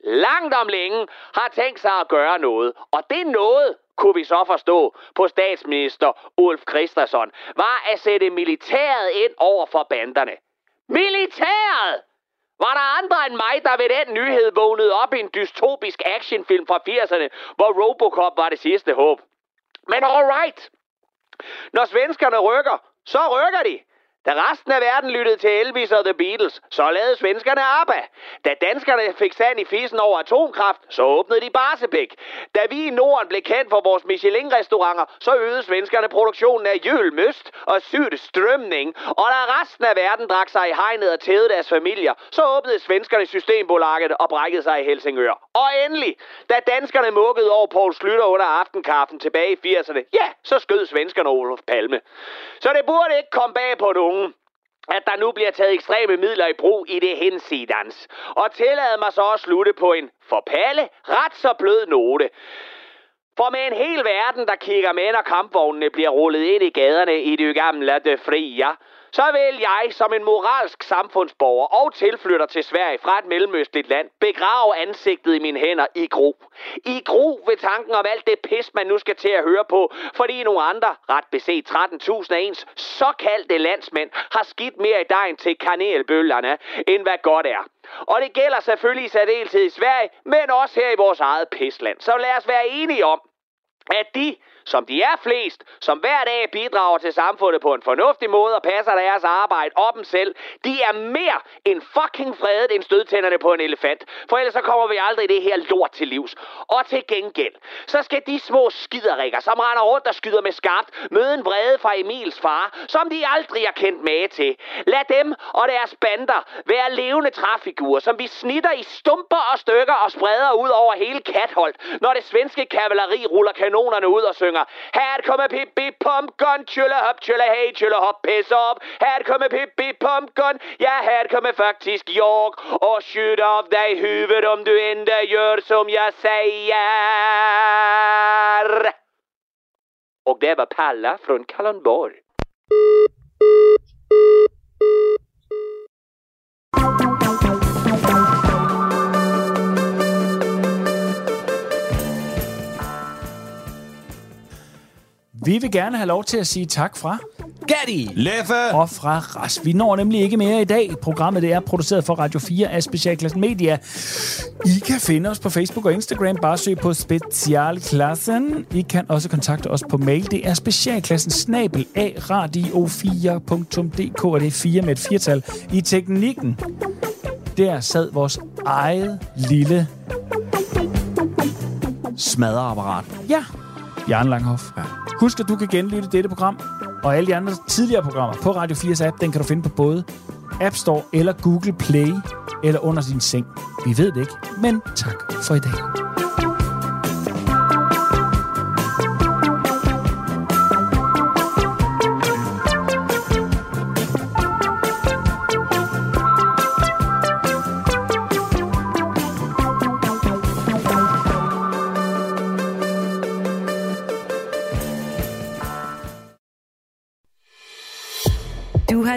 Speaker 10: langt om længe har tænkt sig at gøre noget. Og det noget, kunne vi så forstå på statsminister Ulf Kristersson, var at sætte militæret ind over for banderne. Militæret! Var der andre end mig, der ved den nyhed vågnede op i en dystopisk actionfilm fra 80'erne, hvor Robocop var det sidste håb? Men alright! Når svenskerne rykker, så rykker de. Da resten af verden lyttede til Elvis og The Beatles, så lavede svenskerne ABBA. Da danskerne fik sand i fisen over atomkraft, så åbnede de Barsebæk. Da vi i Norden blev kendt for vores Michelin-restauranter, så øgede svenskerne produktionen af jølmøst og sygt strømning. Og da resten af verden drak sig i hegnet og tævede deres familier, så åbnede svenskerne Systembolaget og brækkede sig i Helsingør. Og endelig, da danskerne mukkede over Poul Slytter under aftenkaffen tilbage i 80'erne, ja, så skød svenskerne Olof Palme. Så det burde ikke komme bag på nogen at der nu bliver taget ekstreme midler i brug i det hensidans. Og tillad mig så at slutte på en for Palle ret så blød note. For med en hel verden, der kigger med, når kampvognene bliver rullet ind i gaderne i det gamle de fria, så vil jeg som en moralsk samfundsborger og tilflytter til Sverige fra et mellemøstligt land begrave ansigtet i mine hænder i gro. I gro ved tanken om alt det pis, man nu skal til at høre på, fordi nogle andre, ret beset 13.000 af ens såkaldte landsmænd, har skidt mere i dejen til kanelbøllerne, end hvad godt er. Og det gælder selvfølgelig i særdeleshed i Sverige, men også her i vores eget pisland. Så lad os være enige om, at de, som de er flest, som hver dag bidrager til samfundet på en fornuftig måde og passer deres arbejde op dem selv, de er mere end fucking fredet end stødtænderne på en elefant. For ellers så kommer vi aldrig det her lort til livs. Og til gengæld, så skal de små skiderikker, som render rundt og skyder med skarpt, møde en vrede fra Emils far, som de aldrig har kendt mage til. Lad dem og deres bander være levende træfigurer, som vi snitter i stumper og stykker og spreder ud over hele Katholdt, når det svenske kavaleri ruller kanonerne ud og synger Her kommer pip bip pump gun, tjølle hop, tjølle hey, tjølle hop, pisse op Her kommer pip bip pump gun, ja her kommer faktisk jeg Og skyt af dig huvud om du inte gör som jeg säger Og det var Palla från Kalundborg.
Speaker 3: Vi vil gerne have lov til at sige tak fra. Gatti, Leffe og fra Ras. Vi når nemlig ikke mere i dag. Programmet det er produceret for Radio 4 af Specialklassen Media. I kan finde os på Facebook og Instagram. Bare søg på Specialklassen. I kan også kontakte os på mail. Det er specialklassen snabel af radio4.dk, og det er 4 med et firtal. I teknikken, der sad vores eget lille
Speaker 5: Smadreapparat.
Speaker 3: Ja. Bjarne Langhoff. Ja. Husk, at du kan genlytte dette program og alle de andre tidligere programmer på Radio 4's app. Den kan du finde på både App Store eller Google Play eller under din seng. Vi ved det ikke, men tak for i dag.
Speaker 2: Du har